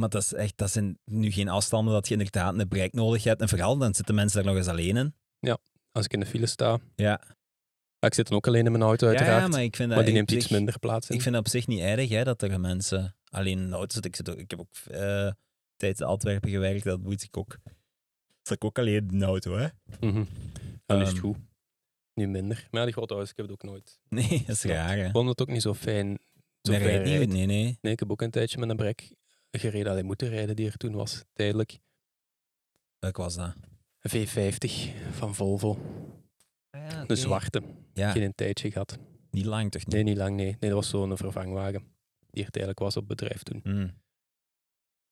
[SPEAKER 2] Maar dat, is echt, dat zijn nu geen afstanden dat je inderdaad een bereik nodig hebt. En vooral, dan zitten mensen daar nog eens alleen in.
[SPEAKER 1] Als ik in de file sta,
[SPEAKER 2] Ja,
[SPEAKER 1] ja, ik zit dan ook alleen in mijn auto
[SPEAKER 2] ja,
[SPEAKER 1] uiteraard, maar,
[SPEAKER 2] maar eh, ik vind dat
[SPEAKER 1] die neemt
[SPEAKER 2] op
[SPEAKER 1] iets
[SPEAKER 2] zich-
[SPEAKER 1] minder plaats in.
[SPEAKER 2] Ik vind dat op zich niet erg, hè, dat er mensen alleen in de auto zitten. Ik, zit ook, ik heb ook eh tijdens Antwerpen gewerkt, dat moet ik ook. Zat ik ook alleen in de auto, hè?
[SPEAKER 1] Mhm. Dan is het
[SPEAKER 2] Ehm.
[SPEAKER 1] goed. Nu minder. Maar ja, die grote auto's, ik heb het ook nooit.
[SPEAKER 2] Nee, dat is
[SPEAKER 1] Klopt.
[SPEAKER 2] raar, hè?
[SPEAKER 1] Ik vond het ook niet zo fijn. Zo
[SPEAKER 2] Nee,
[SPEAKER 1] ver
[SPEAKER 2] rijdt niet
[SPEAKER 1] rijden.
[SPEAKER 2] goed, nee, nee.
[SPEAKER 1] Nee, ik heb ook een tijdje met een brek gereden. Alleen moeten rijden die er toen was, tijdelijk.
[SPEAKER 2] Welk was dat?
[SPEAKER 1] Een V50 van Volvo. De zwarte.
[SPEAKER 2] Ja,
[SPEAKER 1] Geen een tijdje gehad.
[SPEAKER 2] niet lang toch niet?
[SPEAKER 1] Nee, niet lang, nee. Nee, dat was zo'n vervangwagen. Die er tijdelijk was op bedrijf toen.
[SPEAKER 2] Mm.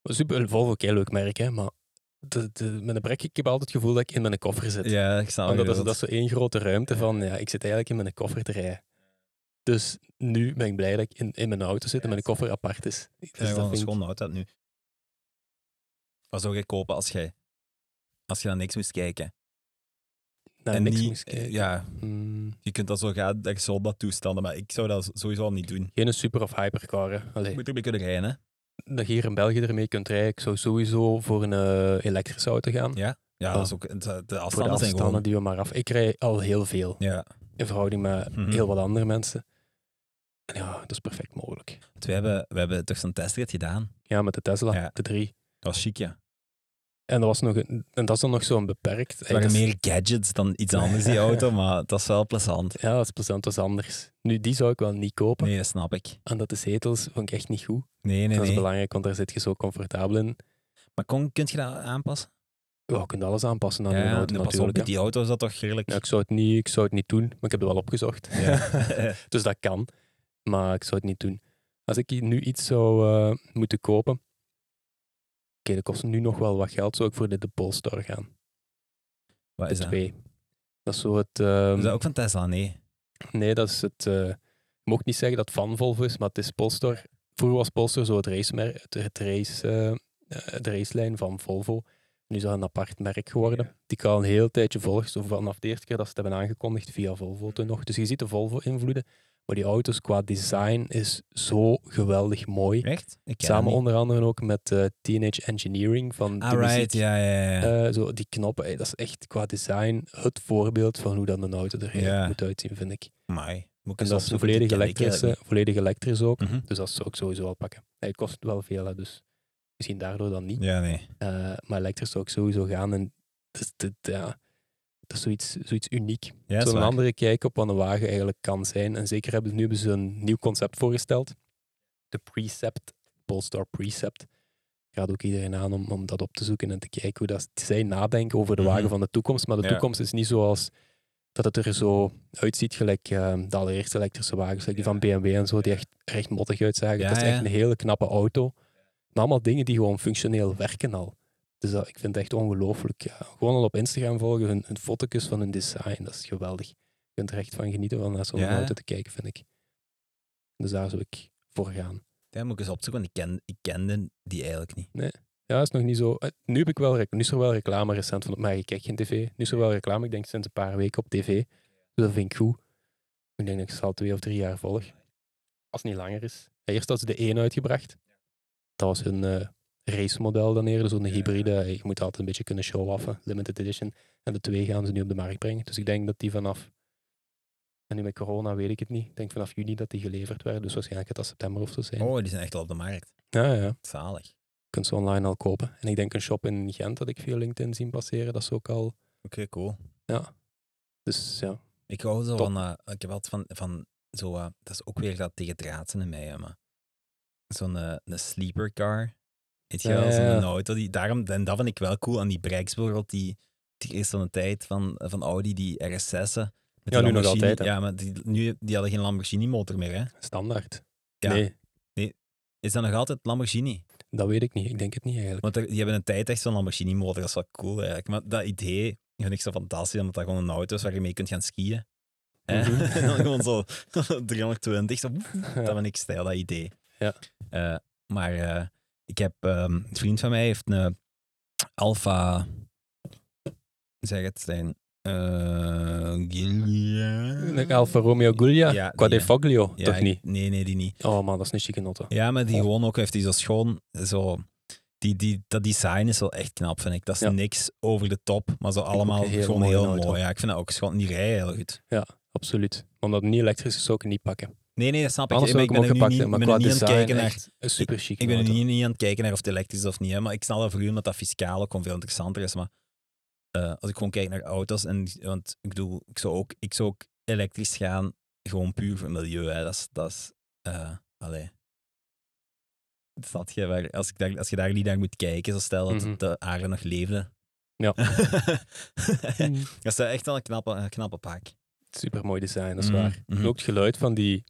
[SPEAKER 1] Super, Volvo, ook heel leuk merk, hè. Maar de, de, met een brek, ik heb altijd het gevoel dat ik in mijn koffer zit.
[SPEAKER 2] Ja, ik snap
[SPEAKER 1] Want
[SPEAKER 2] het.
[SPEAKER 1] dat, is, dat is zo één grote ruimte van, ja, ik zit eigenlijk in mijn koffer te rijden. Dus nu ben ik blij dat ik in, in mijn auto zit en mijn koffer apart is. Dus
[SPEAKER 2] ja, gewoon
[SPEAKER 1] dat
[SPEAKER 2] een
[SPEAKER 1] vind ik-
[SPEAKER 2] schoon auto hebt nu. Wat zou jij kopen als jij, als je naar niks moest kijken?
[SPEAKER 1] naar
[SPEAKER 2] en
[SPEAKER 1] niks
[SPEAKER 2] niet,
[SPEAKER 1] moest kijken.
[SPEAKER 2] Ja,
[SPEAKER 1] Hmm.
[SPEAKER 2] je kunt dat zo gaan, dat je zo op dat toestanden, maar ik zou dat sowieso al niet doen.
[SPEAKER 1] Geen super of hypercar, hè.
[SPEAKER 2] Je
[SPEAKER 1] Allee,
[SPEAKER 2] moet ermee kunnen rijden, hè?
[SPEAKER 1] dat je hier in België ermee kunt rijden. Ik zou sowieso voor een eh, elektrische auto gaan.
[SPEAKER 2] Ja,
[SPEAKER 1] Ah.
[SPEAKER 2] dat is ook, de, de afstanden,
[SPEAKER 1] voor de
[SPEAKER 2] zijn
[SPEAKER 1] afstanden
[SPEAKER 2] gewoon...
[SPEAKER 1] die we maar af. Ik rij al heel veel.
[SPEAKER 2] Ja,
[SPEAKER 1] In verhouding met
[SPEAKER 2] Mhm.
[SPEAKER 1] heel wat andere mensen. En ja, dat is perfect mogelijk.
[SPEAKER 2] want Dus we hebben, we hebben toch zo'n testrit gedaan.
[SPEAKER 1] Ja, met de Tesla,
[SPEAKER 2] Ja.
[SPEAKER 1] de drie.
[SPEAKER 2] Dat was chic, ja.
[SPEAKER 1] En dat, was nog een, en dat is dan nog zo'n beperkt.
[SPEAKER 2] Het waren
[SPEAKER 1] dat is-
[SPEAKER 2] meer gadgets dan iets anders, die auto, maar dat is wel plezant.
[SPEAKER 1] Ja, dat is plezant, dat is anders. Nu, die zou ik wel niet kopen.
[SPEAKER 2] Nee, dat snap ik.
[SPEAKER 1] En dat de zetels vond ik echt niet goed.
[SPEAKER 2] Nee, nee,
[SPEAKER 1] dat is
[SPEAKER 2] nee.
[SPEAKER 1] belangrijk, want daar zit je zo comfortabel in.
[SPEAKER 2] Maar kon, kun je dat aanpassen?
[SPEAKER 1] Ja, je kunt alles aanpassen aan je
[SPEAKER 2] ja,
[SPEAKER 1] auto
[SPEAKER 2] pas op,
[SPEAKER 1] natuurlijk.
[SPEAKER 2] met
[SPEAKER 1] hè.
[SPEAKER 2] die auto is dat toch redelijk...
[SPEAKER 1] Ja, ik, zou het niet, ik zou het niet doen, maar ik heb het wel opgezocht.
[SPEAKER 2] Ja.
[SPEAKER 1] dus dat kan, maar ik zou het niet doen. Als ik hier nu iets zou eh, moeten kopen... Oké, dat kost nu nog wel wat geld, zou ik voor de, de Polestar gaan.
[SPEAKER 2] Wat
[SPEAKER 1] De
[SPEAKER 2] is dat?
[SPEAKER 1] twee. Dat is zo het... ehm,
[SPEAKER 2] Is dat ook van Tesla? Nee.
[SPEAKER 1] Nee, dat is het. eh ik mocht niet zeggen dat het van Volvo is, maar het is Polestar. Vroeger was Polestar zo het, racemer, het, het race, eh, eh, de racelijn van Volvo. Nu is dat een apart merk geworden. Die ik al een heel tijdje volg, zo vanaf de eerste keer dat ze het hebben aangekondigd via Volvo toen nog. Dus je ziet de Volvo-invloeden. Maar die auto's qua design is zo geweldig mooi.
[SPEAKER 2] Echt? Ik ken
[SPEAKER 1] Samen
[SPEAKER 2] dat niet.
[SPEAKER 1] onder andere ook met eh, Teenage Engineering van de
[SPEAKER 2] Ah, right.
[SPEAKER 1] muziek.
[SPEAKER 2] Ja, ja, ja.
[SPEAKER 1] Eh, zo, die knoppen, eh, dat is echt qua design het voorbeeld van hoe dan een auto er
[SPEAKER 2] Ja.
[SPEAKER 1] moet uitzien, vind ik.
[SPEAKER 2] Amai. Moet ik
[SPEAKER 1] En
[SPEAKER 2] eens
[SPEAKER 1] Dus dat is een
[SPEAKER 2] opzoeken,
[SPEAKER 1] volledig
[SPEAKER 2] die ken ik
[SPEAKER 1] elektrische,
[SPEAKER 2] eigenlijk
[SPEAKER 1] volledig elektrisch ook.
[SPEAKER 2] niet. Mhm.
[SPEAKER 1] Dus dat zou ik sowieso wel pakken. Hij kost wel veel, hè, dus misschien daardoor dan niet.
[SPEAKER 2] Ja, nee.
[SPEAKER 1] Eh, maar elektrisch zou ik sowieso gaan. En dat is, dat, ja, dat is zoiets, zoiets uniek.
[SPEAKER 2] Ja, is
[SPEAKER 1] Zo'n
[SPEAKER 2] waar.
[SPEAKER 1] andere kijk op wat een wagen eigenlijk kan zijn. En zeker hebben, nu hebben ze een nieuw concept voorgesteld. De Precept, Polestar Precept. Ik raad ook iedereen aan om, om dat op te zoeken en te kijken hoe dat, zij nadenken over de
[SPEAKER 2] Mhm.
[SPEAKER 1] wagen van de toekomst. Maar de
[SPEAKER 2] Ja.
[SPEAKER 1] toekomst is niet zoals dat het er zo uitziet, gelijk eh, de allereerste elektrische wagens, like die van BMW en zo, die echt recht mottig uitzagen.
[SPEAKER 2] Ja,
[SPEAKER 1] dat is echt
[SPEAKER 2] ja.
[SPEAKER 1] een hele knappe auto. Maar allemaal dingen die gewoon functioneel werken al. Dus dat, ik vind het echt ongelooflijk. ja. Gewoon al op Instagram volgen, hun, hun foto's van hun design, dat is geweldig. Je kunt er echt van genieten van naar zo'n
[SPEAKER 2] Ja.
[SPEAKER 1] auto te kijken, vind ik. Dus daar zou ik voor gaan.
[SPEAKER 2] Ja, moet ik eens opzoeken, want ik, ken, ik kende die eigenlijk niet.
[SPEAKER 1] Ja, is nog niet zo. eh, Nu, heb ik wel, rec- nu is er wel reclame recent van op mij. Ik kijk geen tv. Nu is er wel reclame, ik denk sinds een paar weken op tv. Dus dat vind ik goed. Ik denk dat ik ze al twee of drie jaar volg. Als het niet langer is. Ja, eerst hadden ze de 1 uitgebracht. Dat was hun eh racemodel dan eerder, zo'n hybride. Eh, Je moet altijd een beetje kunnen show-offen, limited edition. En de twee gaan ze nu op de markt brengen. Dus ik denk dat die vanaf... En nu met corona weet ik het niet. Ik denk vanaf juni dat die geleverd werden. Dus waarschijnlijk gaat dat september of zo zijn.
[SPEAKER 2] Oh, die zijn echt al op de markt.
[SPEAKER 1] Ja, ja
[SPEAKER 2] Zalig.
[SPEAKER 1] kunt ze online al kopen. En ik denk een shop in Gent dat ik via LinkedIn zien passeren, dat is ook al.
[SPEAKER 2] Oké, cool.
[SPEAKER 1] Dus ja,
[SPEAKER 2] Ik hou zo
[SPEAKER 1] Top.
[SPEAKER 2] van, eh, ik heb altijd van, van zo, eh, dat is ook weer dat tegendraadsen in mij, hè, maar zo'n eh, een sleeper car, Weet je wel,
[SPEAKER 1] Ja, ja, ja.
[SPEAKER 2] zo'n auto. Die, daarom, en dat vind ik wel cool aan die brakes bijvoorbeeld, die, die is van de tijd van, van Audi, die RS6'en. met
[SPEAKER 1] Ja, nu
[SPEAKER 2] die
[SPEAKER 1] nog
[SPEAKER 2] Lamborghini.
[SPEAKER 1] altijd, hè.
[SPEAKER 2] Ja, maar die, nu, die hadden geen Lamborghini-motor meer, hè.
[SPEAKER 1] Standaard.
[SPEAKER 2] Ja.
[SPEAKER 1] Nee,
[SPEAKER 2] Is dat nog altijd Lamborghini?
[SPEAKER 1] dat weet ik niet. Ik denk het niet eigenlijk.
[SPEAKER 2] Want er- die hebben een tijd echt zo'n Lamborghini-motor, dat is wel cool eigenlijk. Maar dat idee vind ik zo fantastisch, omdat dat gewoon een auto is waar je mee kunt gaan skiën. Hè?
[SPEAKER 1] Mhm.
[SPEAKER 2] En dan gewoon zo 320, zo, woef,
[SPEAKER 1] Ja.
[SPEAKER 2] dat vind ik stijl, dat idee.
[SPEAKER 1] Ja.
[SPEAKER 2] Eh, maar eh, ik heb, ehm, een vriend van mij heeft een Alfa, zeg het zijn, eh Giulia?
[SPEAKER 1] Een Alfa Romeo Giulia,
[SPEAKER 2] Ja, die,
[SPEAKER 1] Quadrifoglio,
[SPEAKER 2] Ja,
[SPEAKER 1] toch
[SPEAKER 2] ik-
[SPEAKER 1] niet?
[SPEAKER 2] Nee, nee, die niet.
[SPEAKER 1] Oh man, dat is een chique notte.
[SPEAKER 2] Ja, maar die
[SPEAKER 1] Oh.
[SPEAKER 2] gewoon ook heeft die zo schoon. Zo, die, die, dat design is wel echt knap, vind ik. Dat is
[SPEAKER 1] Ja.
[SPEAKER 2] niks over de top, maar zo allemaal
[SPEAKER 1] ook een hele
[SPEAKER 2] gewoon
[SPEAKER 1] mooie
[SPEAKER 2] heel
[SPEAKER 1] auto.
[SPEAKER 2] mooi. Ja, ik vind dat ook schoon. Die rijden heel goed.
[SPEAKER 1] Absoluut. Omdat het niet elektrisch is, zou ik het niet pakken.
[SPEAKER 2] Nee, nee, dat snap ik.
[SPEAKER 1] Anders
[SPEAKER 2] maar
[SPEAKER 1] zou ik
[SPEAKER 2] ik ben
[SPEAKER 1] hem
[SPEAKER 2] er
[SPEAKER 1] ook gepakt
[SPEAKER 2] nu niet,
[SPEAKER 1] hebben, maar
[SPEAKER 2] ben er
[SPEAKER 1] qua
[SPEAKER 2] niet aan het
[SPEAKER 1] design
[SPEAKER 2] kijken naar...
[SPEAKER 1] echt een super chique
[SPEAKER 2] Ik ben er
[SPEAKER 1] auto.
[SPEAKER 2] niet, niet aan het kijken naar of het elektrisch is of niet. Hè, maar ik snap dat voor u, omdat dat fiscaal ook gewoon veel interessanter is. Maar eh, als ik gewoon kijk naar auto's, en, want ik bedoel, ik zou ook, ik zou ook elektrisch gaan, gewoon puur voor milieu. Hè, dat is, dat is eh, allee. Snap je, waar, als, ik daar, als je daar niet naar moet kijken, zo stel dat
[SPEAKER 1] Mhm.
[SPEAKER 2] de aarde nog leefde.
[SPEAKER 1] Ja. Mm.
[SPEAKER 2] dat is echt wel een knappe, een knappe pak.
[SPEAKER 1] Super mooi design, dat is waar.
[SPEAKER 2] Mhm.
[SPEAKER 1] Ook het geluid van die,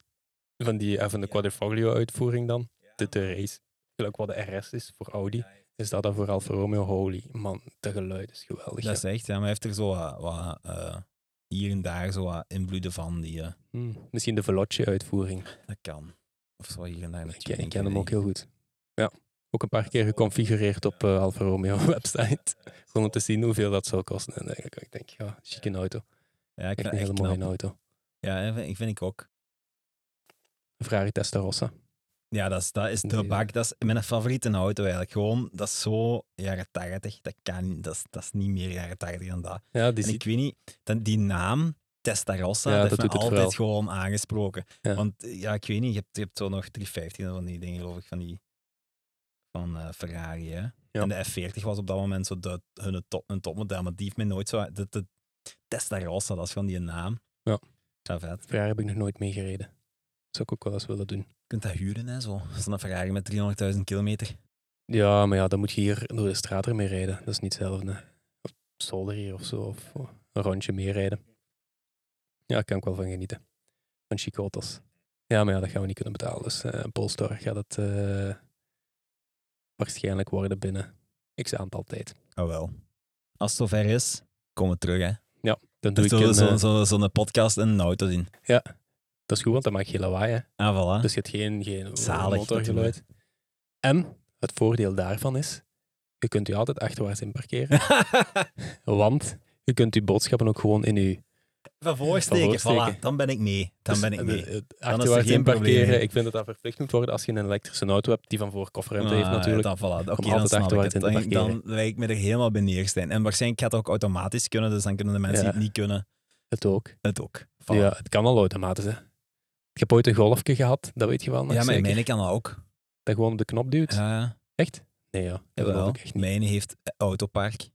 [SPEAKER 1] van die eh, van de Quadrifoglio uitvoering dan, de, de race. Gelijk wat de RS is voor Audi, is dat dan voor Alfa Romeo. Holy man, dat geluid is geweldig.
[SPEAKER 2] Dat is echt, ja, maar hij heeft er zo wat, wat, eh, hier en daar zo wat invloeden van die... eh,
[SPEAKER 1] ja. Mm. Misschien de Veloce uitvoering.
[SPEAKER 2] Dat kan. Of zo hier en daar
[SPEAKER 1] Ik,
[SPEAKER 2] natuurlijk.
[SPEAKER 1] ken- ik ken hem ook heel goed. Ja, ook een paar keer geconfigureerd op eh, Alfa Romeo website. Gewoon om te zien hoeveel dat zou kosten. En eigenlijk, ik denk, ja, chique auto.
[SPEAKER 2] Ja, ik
[SPEAKER 1] Echt
[SPEAKER 2] vind
[SPEAKER 1] een
[SPEAKER 2] echt
[SPEAKER 1] hele mooie
[SPEAKER 2] knap.
[SPEAKER 1] auto.
[SPEAKER 2] Ja, dat vind, ik vind ik ook.
[SPEAKER 1] Ferrari Testarossa.
[SPEAKER 2] Ja, dat is, dat is de
[SPEAKER 1] Deze.
[SPEAKER 2] bak. Dat is mijn favoriete auto eigenlijk. Gewoon, dat is zo jaren 80. Dat kan dat is, dat is niet meer jaren 80 dan dat.
[SPEAKER 1] Ja, die
[SPEAKER 2] En
[SPEAKER 1] ziet
[SPEAKER 2] Dus ik weet niet, dan die naam, Testarossa,
[SPEAKER 1] Ja,
[SPEAKER 2] dat
[SPEAKER 1] dat
[SPEAKER 2] heeft me
[SPEAKER 1] doet het
[SPEAKER 2] altijd
[SPEAKER 1] verhaal.
[SPEAKER 2] gewoon aangesproken.
[SPEAKER 1] Ja.
[SPEAKER 2] Want eh, ja, ik weet niet, je hebt, je hebt zo nog 350 van die dingen, geloof ik, van die van eh, Ferrari. Hè? En de F40 was op dat moment zo de, hun top, hun topmodel, maar die heeft me nooit zo... De, de, Testarossa, dat is gewoon die naam.
[SPEAKER 1] Ja.
[SPEAKER 2] Dat vet.
[SPEAKER 1] Ferrari heb ik nog nooit meegereden. Zou ik ook wel eens willen doen.
[SPEAKER 2] Je kunt dat huren, hè, zo. Zo'n Ferrari met 300.000 kilometer.
[SPEAKER 1] Ja, maar ja, dan moet je hier door de straat ermee rijden. Dat is niet hetzelfde. Of zolder hier of zo. Of eh, een rondje meer rijden. Ja, daar kan ik wel van genieten. Van chique auto's. Ja, maar ja, dat gaan we niet kunnen betalen. Dus eh Polestar gaat het eh, waarschijnlijk worden binnen x aantal tijd.
[SPEAKER 2] Oh wel. Als het zover is, komen we terug, hè.
[SPEAKER 1] Dan doe
[SPEAKER 2] Dus
[SPEAKER 1] ik
[SPEAKER 2] zullen
[SPEAKER 1] een,
[SPEAKER 2] we zo-
[SPEAKER 1] eh,
[SPEAKER 2] zo- zo'n podcast en een auto zien.
[SPEAKER 1] dat is goed, want dan maak je geen lawaai. Hè?
[SPEAKER 2] Ah, voilà.
[SPEAKER 1] Dus je hebt geen, geen
[SPEAKER 2] Zalig,
[SPEAKER 1] motorgeluid. En het voordeel daarvan is, je kunt je altijd achterwaarts in parkeren. Dus- Want je kunt je boodschappen ook gewoon in je...
[SPEAKER 2] Van
[SPEAKER 1] Van
[SPEAKER 2] voorsteken,
[SPEAKER 1] voorsteken.
[SPEAKER 2] voilà. Dan ben ik mee. Dan
[SPEAKER 1] Dus,
[SPEAKER 2] ben ik
[SPEAKER 1] eh,
[SPEAKER 2] mee.
[SPEAKER 1] eh,
[SPEAKER 2] is er
[SPEAKER 1] Achterwaarts
[SPEAKER 2] geen
[SPEAKER 1] in
[SPEAKER 2] probleem
[SPEAKER 1] parkeren.
[SPEAKER 2] meer.
[SPEAKER 1] Ik vind dat dat verplicht moet worden als je een elektrische auto hebt die van voor kofferruimte
[SPEAKER 2] Ah,
[SPEAKER 1] heeft natuurlijk.
[SPEAKER 2] Dan, voilà. Oké, dan
[SPEAKER 1] altijd
[SPEAKER 2] snap ik
[SPEAKER 1] achteruit
[SPEAKER 2] het.
[SPEAKER 1] in te
[SPEAKER 2] Dan, dan
[SPEAKER 1] parkeren.
[SPEAKER 2] lijkt me er helemaal bij neer, Stijn. En waarschijnlijk gaat het ook automatisch kunnen, dus dan kunnen de mensen
[SPEAKER 1] Ja.
[SPEAKER 2] die het niet kunnen,
[SPEAKER 1] Het ook.
[SPEAKER 2] het ook. Voilà.
[SPEAKER 1] Ja, het kan al automatisch, hè. Ik heb ooit een golfje gehad, dat weet je wel. nog
[SPEAKER 2] Ja, maar
[SPEAKER 1] zeker?
[SPEAKER 2] mijn kan dat ook.
[SPEAKER 1] Dat gewoon op de knop duwt.
[SPEAKER 2] Ja,
[SPEAKER 1] Echt? Nee, ja. Dat geloof
[SPEAKER 2] jawel.
[SPEAKER 1] ik echt niet.
[SPEAKER 2] Mijn heeft eh, autopark.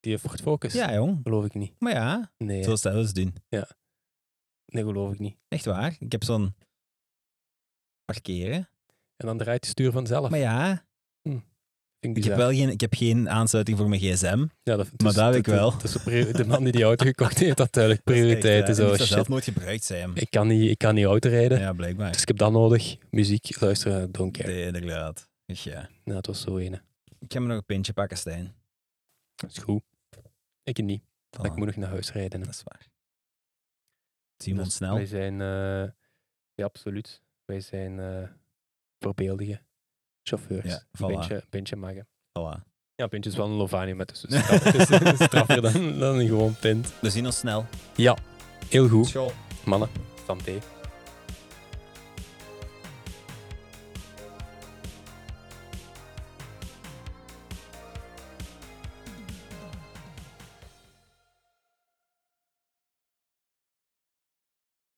[SPEAKER 1] Die Ford Focus?
[SPEAKER 2] Ja, jong.
[SPEAKER 1] Geloof ik niet.
[SPEAKER 2] Maar ja,
[SPEAKER 1] Nee,
[SPEAKER 2] zo zouden we het doen.
[SPEAKER 1] nee, geloof ik niet.
[SPEAKER 2] Echt waar. Ik heb zo'n parkeren.
[SPEAKER 1] En dan draait je stuur vanzelf.
[SPEAKER 2] Maar ja,
[SPEAKER 1] Vind ik
[SPEAKER 2] ik
[SPEAKER 1] bizar.
[SPEAKER 2] heb, wel geen, ik heb geen aansluiting voor mijn gsm.
[SPEAKER 1] Ja, dat,
[SPEAKER 2] maar dat heb ik wel.
[SPEAKER 1] dat- dat is de priori- de man die die auto gekocht heeft, had duidelijk prioriteiten.
[SPEAKER 2] Dat is echt,
[SPEAKER 1] Zo,
[SPEAKER 2] eh, ik moest dat zelf
[SPEAKER 1] shit.
[SPEAKER 2] nooit gebruikt zijn.
[SPEAKER 1] Ik kan niet, ik kan niet autorijden.
[SPEAKER 2] Ja, blijkbaar.
[SPEAKER 1] Dus ik heb dat nodig. Muziek, luisteren, don't care.
[SPEAKER 2] Nee, inderdaad. Dus ja.
[SPEAKER 1] Nou, het was zo ene.
[SPEAKER 2] Ik ga me nog een pintje pakken, Stijn.
[SPEAKER 1] Dat is goed. Ik niet.
[SPEAKER 2] Voilà.
[SPEAKER 1] Maar Ik moet nog naar huis rijden.
[SPEAKER 2] Dat is waar. Zien we
[SPEAKER 1] Dus
[SPEAKER 2] ons snel.
[SPEAKER 1] Wij zijn... eh, ja, absoluut. Wij zijn eh voorbeeldige chauffeurs.
[SPEAKER 2] Ja, voilà.
[SPEAKER 1] Een pintje, een pintje maken.
[SPEAKER 2] Voilà.
[SPEAKER 1] Ja, pintje is wel een Lovanium met dus straf, dus het is straffer dan, dan een gewoon pint.
[SPEAKER 2] We zien ons snel.
[SPEAKER 1] Heel goed,
[SPEAKER 2] School.
[SPEAKER 1] mannen. Santé.